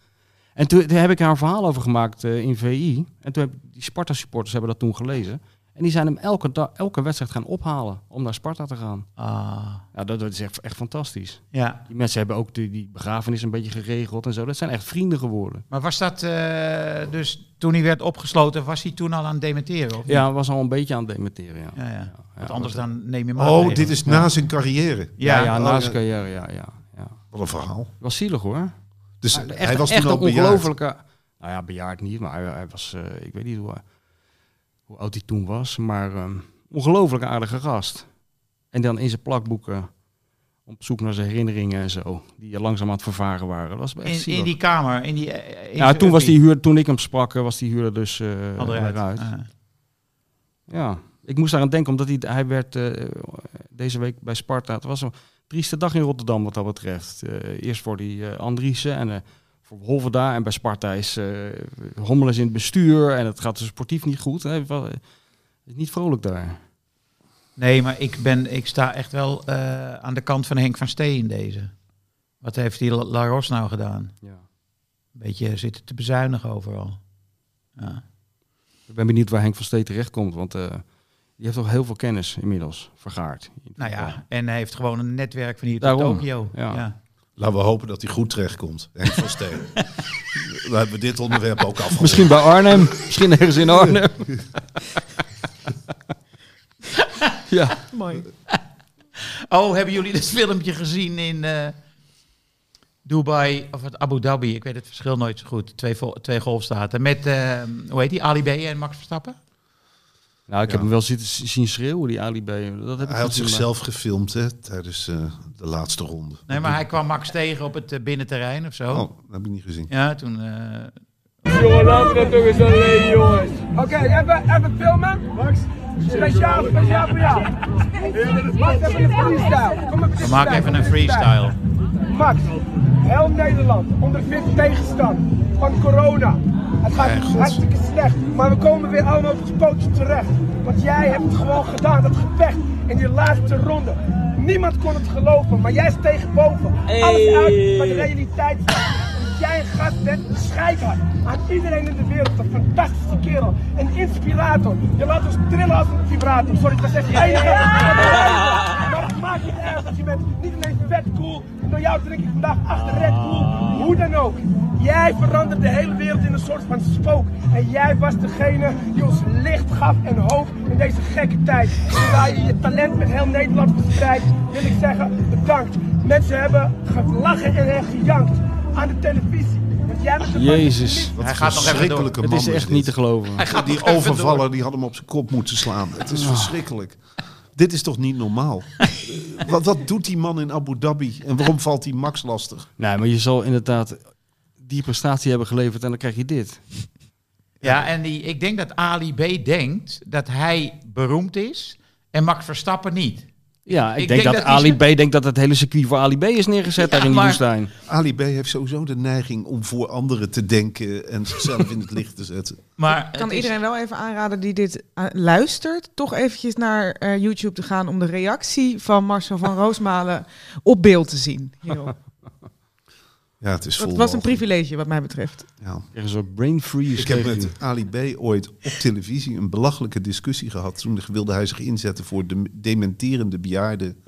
S2: En toen, daar heb ik daar een verhaal over gemaakt eh, in VI. En toen hebben die Sparta-supporters hebben dat toen gelezen. En die zijn hem elke, da- elke wedstrijd gaan ophalen om naar Sparta te gaan.
S4: Ah,
S2: Ja, dat, dat is echt, echt fantastisch.
S4: ja.
S2: Die mensen hebben ook die, die begrafenis een beetje geregeld en zo. Dat zijn echt vrienden geworden.
S4: Maar was dat eh, dus toen hij werd opgesloten, was hij toen al aan het dementeren? Of niet?
S2: Ja, was al een beetje aan het dementeren, ja.
S4: ja, ja.
S2: Ja,
S4: Want anders
S2: dat-
S4: dan neem je hem
S1: Oh, dit is na zijn carrière.
S4: Ja,
S2: Ja, ja,
S1: oh,
S2: na
S1: ja.
S2: zijn carrière, ja, ja, ja.
S1: Wat een verhaal.
S2: Was zielig hoor.
S1: Dus
S2: Maar Nou, echt,
S1: hij was
S2: echt
S1: toen al
S2: een
S1: bejaard.
S2: ongelofelijke... Nou ja, bejaard niet, maar hij, hij was... eh, ik weet niet hoe, hoe oud hij toen was, maar... ehm ongelooflijk aardige gast. En dan in zijn plakboeken... Op zoek naar zijn herinneringen en zo. Die langzaam aan het vervaren waren. Dat was echt
S4: In, in
S2: zielig.
S4: die kamer. In die, eh, in
S2: ja,
S4: zijn
S2: toen, was
S4: uppie.
S2: die huurder, toen ik hem sprak, eh, was die huurder dus eh
S4: Al eruit.
S2: eruit.
S4: Ah.
S2: Ja, ik moest daaraan denken, omdat hij, hij werd eh, deze week bij Sparta. Het was een trieste dag in Rotterdam wat dat betreft. Eh, eerst voor die eh, Andriessen en eh, voor Holven daar. En bij Sparta is eh Hommel is in het bestuur en het gaat dus sportief niet goed. Hij was- eh, is niet vrolijk daar.
S4: Nee, maar ik, ben, ik sta echt wel eh, aan de kant van Henk van Stee in deze. Wat heeft die La- Laros nou gedaan?
S2: Ja.
S4: Een beetje zitten te bezuinigen overal. Ja.
S2: Ik ben benieuwd waar Henk van Stee terechtkomt, want eh, die heeft toch heel veel kennis inmiddels vergaard.
S4: Nou ja, en hij heeft gewoon een netwerk van hier tot
S2: Daarom,
S4: Tokio.
S2: ja.
S1: Laten we hopen dat hij goed terechtkomt. Henk van Steen. we hebben dit onderwerp ook afgerond.
S2: Misschien bij Arnhem, misschien ergens in Arnhem. ja.
S5: Mooi.
S4: Oh, hebben jullie dat filmpje gezien in eh, Dubai of het Abu Dhabi? Ik weet het verschil nooit zo goed. Twee, vol- twee golfstaten. Met, eh, hoe heet die, Ali B en Max Verstappen?
S2: Nou, ik
S1: Ja.
S2: heb hem wel zitten, zien schreeuwen, die Ali B. Dat heb ik
S1: Hij had
S2: gezien, maar-
S1: zichzelf gefilmd hè, tijdens eh, de laatste ronde.
S4: Nee, maar hij kwam Max tegen op het eh, binnenterrein of zo.
S1: Oh, dat heb ik niet gezien.
S4: Ja, toen... eh,
S6: Oké, even, even filmen. Max. Speciaal, speciaal voor jou. Max, even een freestyle. Kom even
S4: we
S6: dit
S4: maken even
S6: staan, kom
S4: een
S6: dit staan.
S4: freestyle.
S6: Max, heel Nederland onder fit tegenstand van corona. Het gaat hartstikke slecht, maar we komen weer allemaal op het pootje terecht. Want jij hebt het gewoon gedaan, dat gevecht in die laatste ronde. Niemand kon het geloven, maar jij steeg boven. Alles uit wat de realiteit was. Dat jij een gast bent, schijf had. Aan iedereen in de wereld, een fantastische kerel. Een inspirator. Je laat ons trillen als een vibrator. Sorry, dat is echt enige. Maar het maakt niet uit, want je bent niet alleen vet cool. En door jou drink ik vandaag achter Red Bull. Hoe dan ook. Jij veranderde de hele wereld in een soort van spook. En jij was degene die ons licht gaf en hoop in deze gekke tijd. Zodra je je talent met heel Nederland verspreidt, wil ik zeggen bedankt. Mensen hebben gelachen en er gejankt aan de televisie. Want jij bent de
S2: Jezus.
S1: Wat
S4: Hij
S1: een
S4: gaat nog even door.
S1: verschrikkelijke
S2: Het
S1: man
S2: is echt
S1: dit.
S2: niet te geloven.
S1: Die overvaller die had hem op zijn kop moeten slaan. Het is verschrikkelijk. Dit is toch niet normaal? Eh, wat, wat doet die man in Abu Dhabi? En waarom valt die Max lastig?
S2: Nee, maar je zal inderdaad die prestatie hebben geleverd en dan krijg je dit.
S4: Ja, en die, ik denk dat Ali B denkt dat hij beroemd is en Max Verstappen niet.
S2: Ja, ik,
S4: Ik
S2: denk,
S4: denk
S2: dat,
S4: dat die
S2: Ali
S4: ze-
S2: B denkt dat het hele circuit voor Ali B is neergezet
S4: Ja,
S2: daar in die
S4: maar-
S2: woestijn.
S1: Ali B heeft sowieso de neiging om voor anderen te denken en zichzelf in het licht te zetten.
S4: Maar
S5: Ik
S4: het
S5: kan
S4: is-
S5: iedereen wel even aanraden die dit eh, luistert, toch eventjes naar eh, YouTube te gaan om de reactie van Marcel van Roosmalen op beeld te zien. hierop.
S1: Ja, het is vol
S5: Dat was een
S1: walging.
S5: privilege wat mij betreft.
S1: Ja.
S2: Er is een brain freeze.
S1: Ik heb
S2: kreeg
S1: met
S2: hij.
S1: Ali B ooit op televisie een belachelijke discussie gehad. Toen wilde hij zich inzetten voor de dementerende bejaarden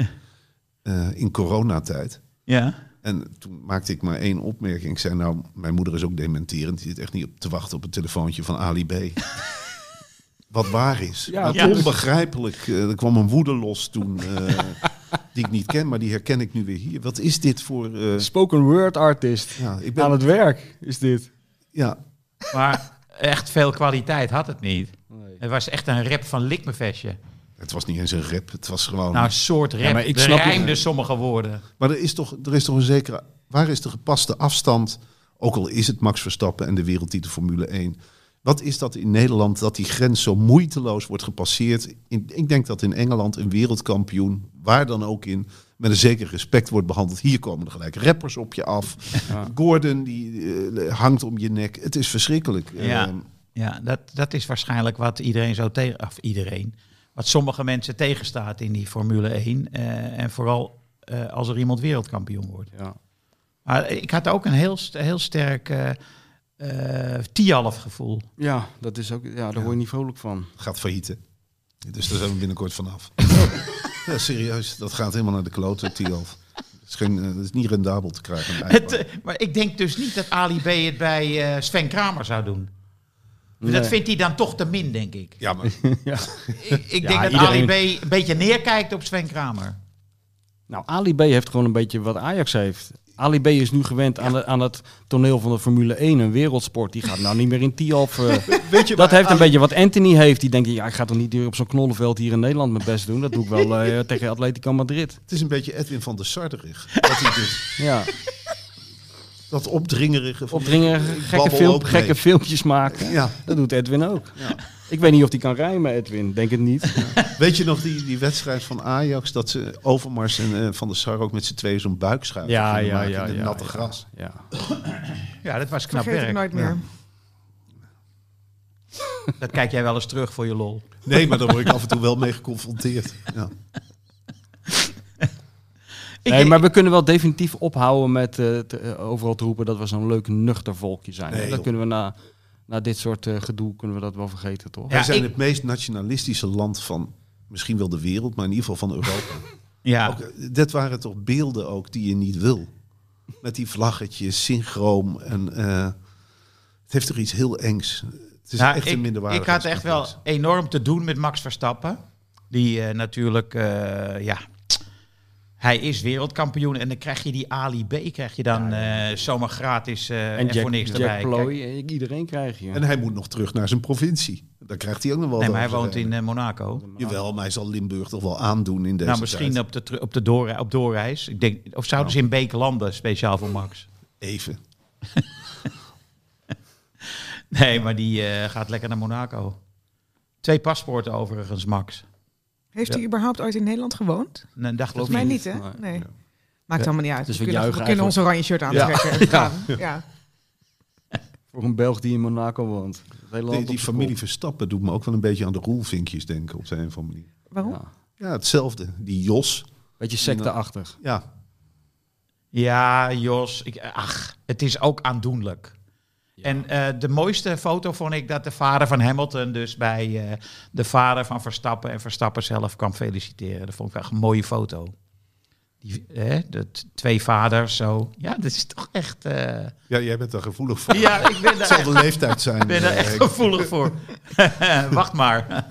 S1: eh, in coronatijd.
S4: Ja.
S1: En toen maakte ik maar één opmerking. Ik zei nou, mijn moeder is ook dementerend. Die zit echt niet op te wachten op een telefoontje van Ali B. Wat waar is.
S2: Ja,
S1: Wat
S4: ja.
S1: Onbegrijpelijk. Eh, er kwam een woede los toen, eh, die ik niet ken, maar die herken ik nu weer hier. Wat is dit voor... eh,
S2: Spoken word artist.
S1: ja, ik ben,
S2: Aan het werk is dit.
S1: ja,
S4: Maar echt veel kwaliteit had het niet. Het was echt een rap van likmevestje.
S1: het was niet eens een rap. Het was gewoon...
S4: Nou, een soort rap.
S2: maar ik
S4: er
S2: snap het.
S4: rijmden sommige woorden.
S1: Maar er is, toch, er is toch een zekere... Waar is de gepaste afstand? Ook al is het Max Verstappen en de wereldtitel Formule 1. Wat is dat in Nederland dat die grens zo moeiteloos wordt gepasseerd? In, ik denk dat in Engeland een wereldkampioen, waar dan ook in, met een zeker respect wordt behandeld. Hier komen er gelijk rappers op je af. Gordon die eh, hangt om je nek. Het is verschrikkelijk.
S4: Ja,
S1: Ehm,
S4: ja dat, dat is waarschijnlijk wat iedereen zo tegen... Of iedereen. Wat sommige mensen tegenstaat in die Formule 1. eh, en vooral eh, als er iemand wereldkampioen wordt.
S2: Ja.
S4: Maar ik had ook een heel, st- heel sterk eh eh Tialf gevoel.
S2: Ja, dat is ook, ja, daar word je niet vrolijk van.
S1: gaat faillieten. Dus daar zijn we binnenkort vanaf. ja, serieus. Dat gaat helemaal naar de klote, Tialf. Het is, geen, eh, het is niet rendabel te krijgen. een
S4: Het,
S1: eindbaan.
S4: eh, maar ik denk dus niet dat Ali B het bij eh, Sven Kramer zou doen.
S2: Nee.
S4: Dat vindt hij dan toch te min, denk ik.
S1: Ja, maar
S4: Ik, ik
S2: Ja,
S4: denk dat
S2: iedereen-
S4: Ali B een beetje neerkijkt op Sven Kramer.
S2: Nou, Ali B heeft gewoon een beetje wat Ajax heeft. Ali B is nu gewend aan, de- aan het toneel van de Formule 1, een wereldsport. Die gaat nou niet meer in Tialf. eh. dat heeft een beetje wat Anthony heeft. Die denkt, ja, ik ga toch niet weer op zo'n knollenveld hier in Nederland mijn best doen. Dat doe ik wel eh, tegen Atletico Madrid.
S1: het is een beetje Edwin van der Sarderig. Dat, hij dus,
S2: Ja,
S1: dat opdringerige. van-
S2: opdringen,
S1: Ik
S2: gekke,
S1: babbel
S2: film,
S1: ook mee.
S2: gekke filmpjes maken.
S1: Ja,
S2: Dat doet Edwin ook. Ik weet niet of hij kan rijmen, Edwin. Denk het niet.
S1: weet je nog die, die wedstrijd van Ajax dat ze Overmars en eh, Van der Sar ook met z'n tweeën zo'n buikschuif gingen maken in het natte gras?
S2: Ja.
S4: Ja, dat was knap
S5: Vergeet ik
S4: werk.
S5: nooit meer.
S4: Dat kijk jij wel eens terug voor je lol.
S1: Nee, maar daar word ik af en toe wel mee geconfronteerd. Ja.
S4: Ik-
S2: Nee, maar we kunnen wel definitief ophouden met eh, te- eh, overal te roepen dat we zo'n leuk nuchter volkje zijn.
S1: Nee,
S2: dat
S1: joh.
S2: kunnen we na, na dit soort eh, gedoe kunnen we dat wel vergeten, toch?
S4: Ja,
S1: Wij zijn
S4: ik-
S1: het meest nationalistische land van misschien wel de wereld, maar in ieder geval van Europa.
S4: ja.
S1: Ook, dat waren toch beelden ook die je niet wil. Met die vlaggetjes, synchroom. En, eh, het heeft toch iets heel engs. Het is
S4: Nou,
S1: echt
S4: ik,
S1: een
S4: Ik
S1: minderwaardigheid.
S4: had echt wel enorm te doen met Max Verstappen. Die eh, natuurlijk, eh, ja, hij is wereldkampioen. En dan krijg je die Ali B, krijg je dan eh, zomaar gratis eh, en,
S2: en Jack,
S4: voor niks
S2: Jack
S4: erbij. Kijk,
S2: Ploy, eh, iedereen krijg je.
S1: En hij moet nog terug naar zijn provincie. Daar krijgt hij ook nog wel
S4: nee,
S1: wat
S4: maar hij
S1: over.
S4: woont in eh, Monaco.
S1: Jawel, maar hij zal Limburg toch wel aandoen in deze
S4: nou, misschien
S1: tijd.
S4: op de, tru- op de doorre- op doorreis. Ik denk, of zouden ze in Beek landen, speciaal voor Max?
S1: Even.
S4: Nee, maar die eh, gaat lekker naar Monaco. Twee paspoorten overigens, Max.
S5: Heeft
S4: Ja.
S5: hij überhaupt ooit in Nederland gewoond?
S4: Nee, dat geloof
S5: Volgens mij
S4: ik niet.
S5: niet, hè?
S2: maar-
S5: Nee. Maakt allemaal niet uit.
S2: Dus
S5: we
S2: we
S5: kunnen,
S2: juichen
S5: we kunnen ons oranje shirt aantrekken en gaan. Ja.
S2: Voor een Belg die in Monaco woont. Het hele land
S1: Die,
S2: op
S1: die
S2: z'n
S1: familie Verstappen doet me ook wel een beetje aan de roelvinkjes denken op zijn een of andere manier.
S2: kop.
S5: Waarom?
S2: Ja.
S1: Ja, hetzelfde. Die Jos.
S2: Beetje secteachtig.
S1: Ja,
S4: Ja, Jos. Ik, ach, het is ook aandoenlijk. En eh, de mooiste foto vond ik dat de vader van Hamilton dus bij eh, de vader van Verstappen en Verstappen zelf kwam feliciteren. Dat vond ik echt een mooie foto. Die, hè, dat twee vaders zo. Ja, dat is toch echt... eh,
S1: ja jij bent daar gevoelig voor.
S4: Ja, ik ben daar,
S1: Het zal de leeftijd zijn.
S4: ben daar
S1: eh,
S4: echt
S1: ik-
S4: gevoelig voor. Wacht maar.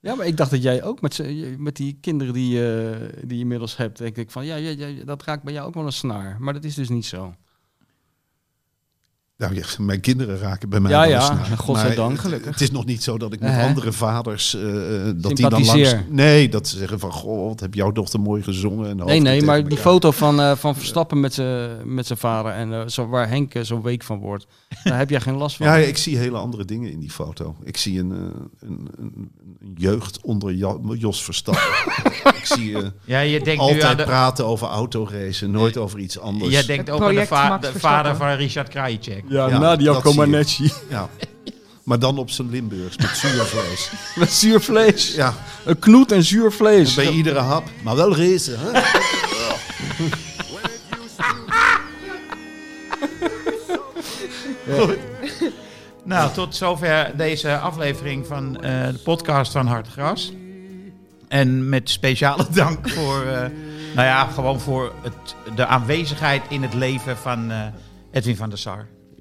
S2: Ja, maar ik dacht dat jij ook met, z'n- met die kinderen die, eh, die je inmiddels hebt. denk ik van, ja, ja, ja, dat raakt bij jou ook wel een snaar. Maar dat is dus niet zo.
S1: Nou, ja, mijn kinderen raken bij mij
S2: Ja,
S1: wel
S2: ja,
S1: eens naar.
S2: godzijdank,
S1: Maar het-
S2: gelukkig.
S1: Het is nog niet zo dat ik met
S2: Nee, hè?
S1: andere vaders... eh, eh, dat die dan langs...
S2: Sympathiseer.
S1: Nee, dat ze zeggen van... Goh, wat heb jouw dochter mooi gezongen. En
S2: Nee,
S1: hoofden
S2: nee,
S1: tegen
S2: maar die
S1: elkaar.
S2: foto van, eh, van Verstappen met zijn met zijn vader en eh, zo, waar Henk eh, zo week van wordt, daar heb jij geen last van.
S1: Ja, ik zie hele andere dingen in die foto. Ik zie een, eh, een, een, een jeugd onder Ja- Jos Verstappen. ik zie eh,
S4: Ja, je denkt nu aan
S1: altijd
S4: de,
S1: praten over autoracen, nooit over iets anders.
S4: Jij denkt
S5: Het
S4: ook aan de,
S5: project
S4: va-
S5: Max
S4: de vader
S5: Verstappen.
S4: van Richard Krajicek.
S2: ja,
S1: Ja,
S2: Nadia
S1: dat zie je.
S2: Comaneci
S1: Ja. Maar dan op zijn Limburgs met zuurvlees.
S2: met zuur vlees.
S1: Ja,
S2: Een knoet en zuur vlees.
S1: bij iedere hap. Maar wel racen, hè?
S4: Nou, tot zover deze aflevering van eh, de podcast van Hard Gras. En met speciale dank voor, eh, nou ja, gewoon voor het, de aanwezigheid in het leven van eh, Edwin van der Sar.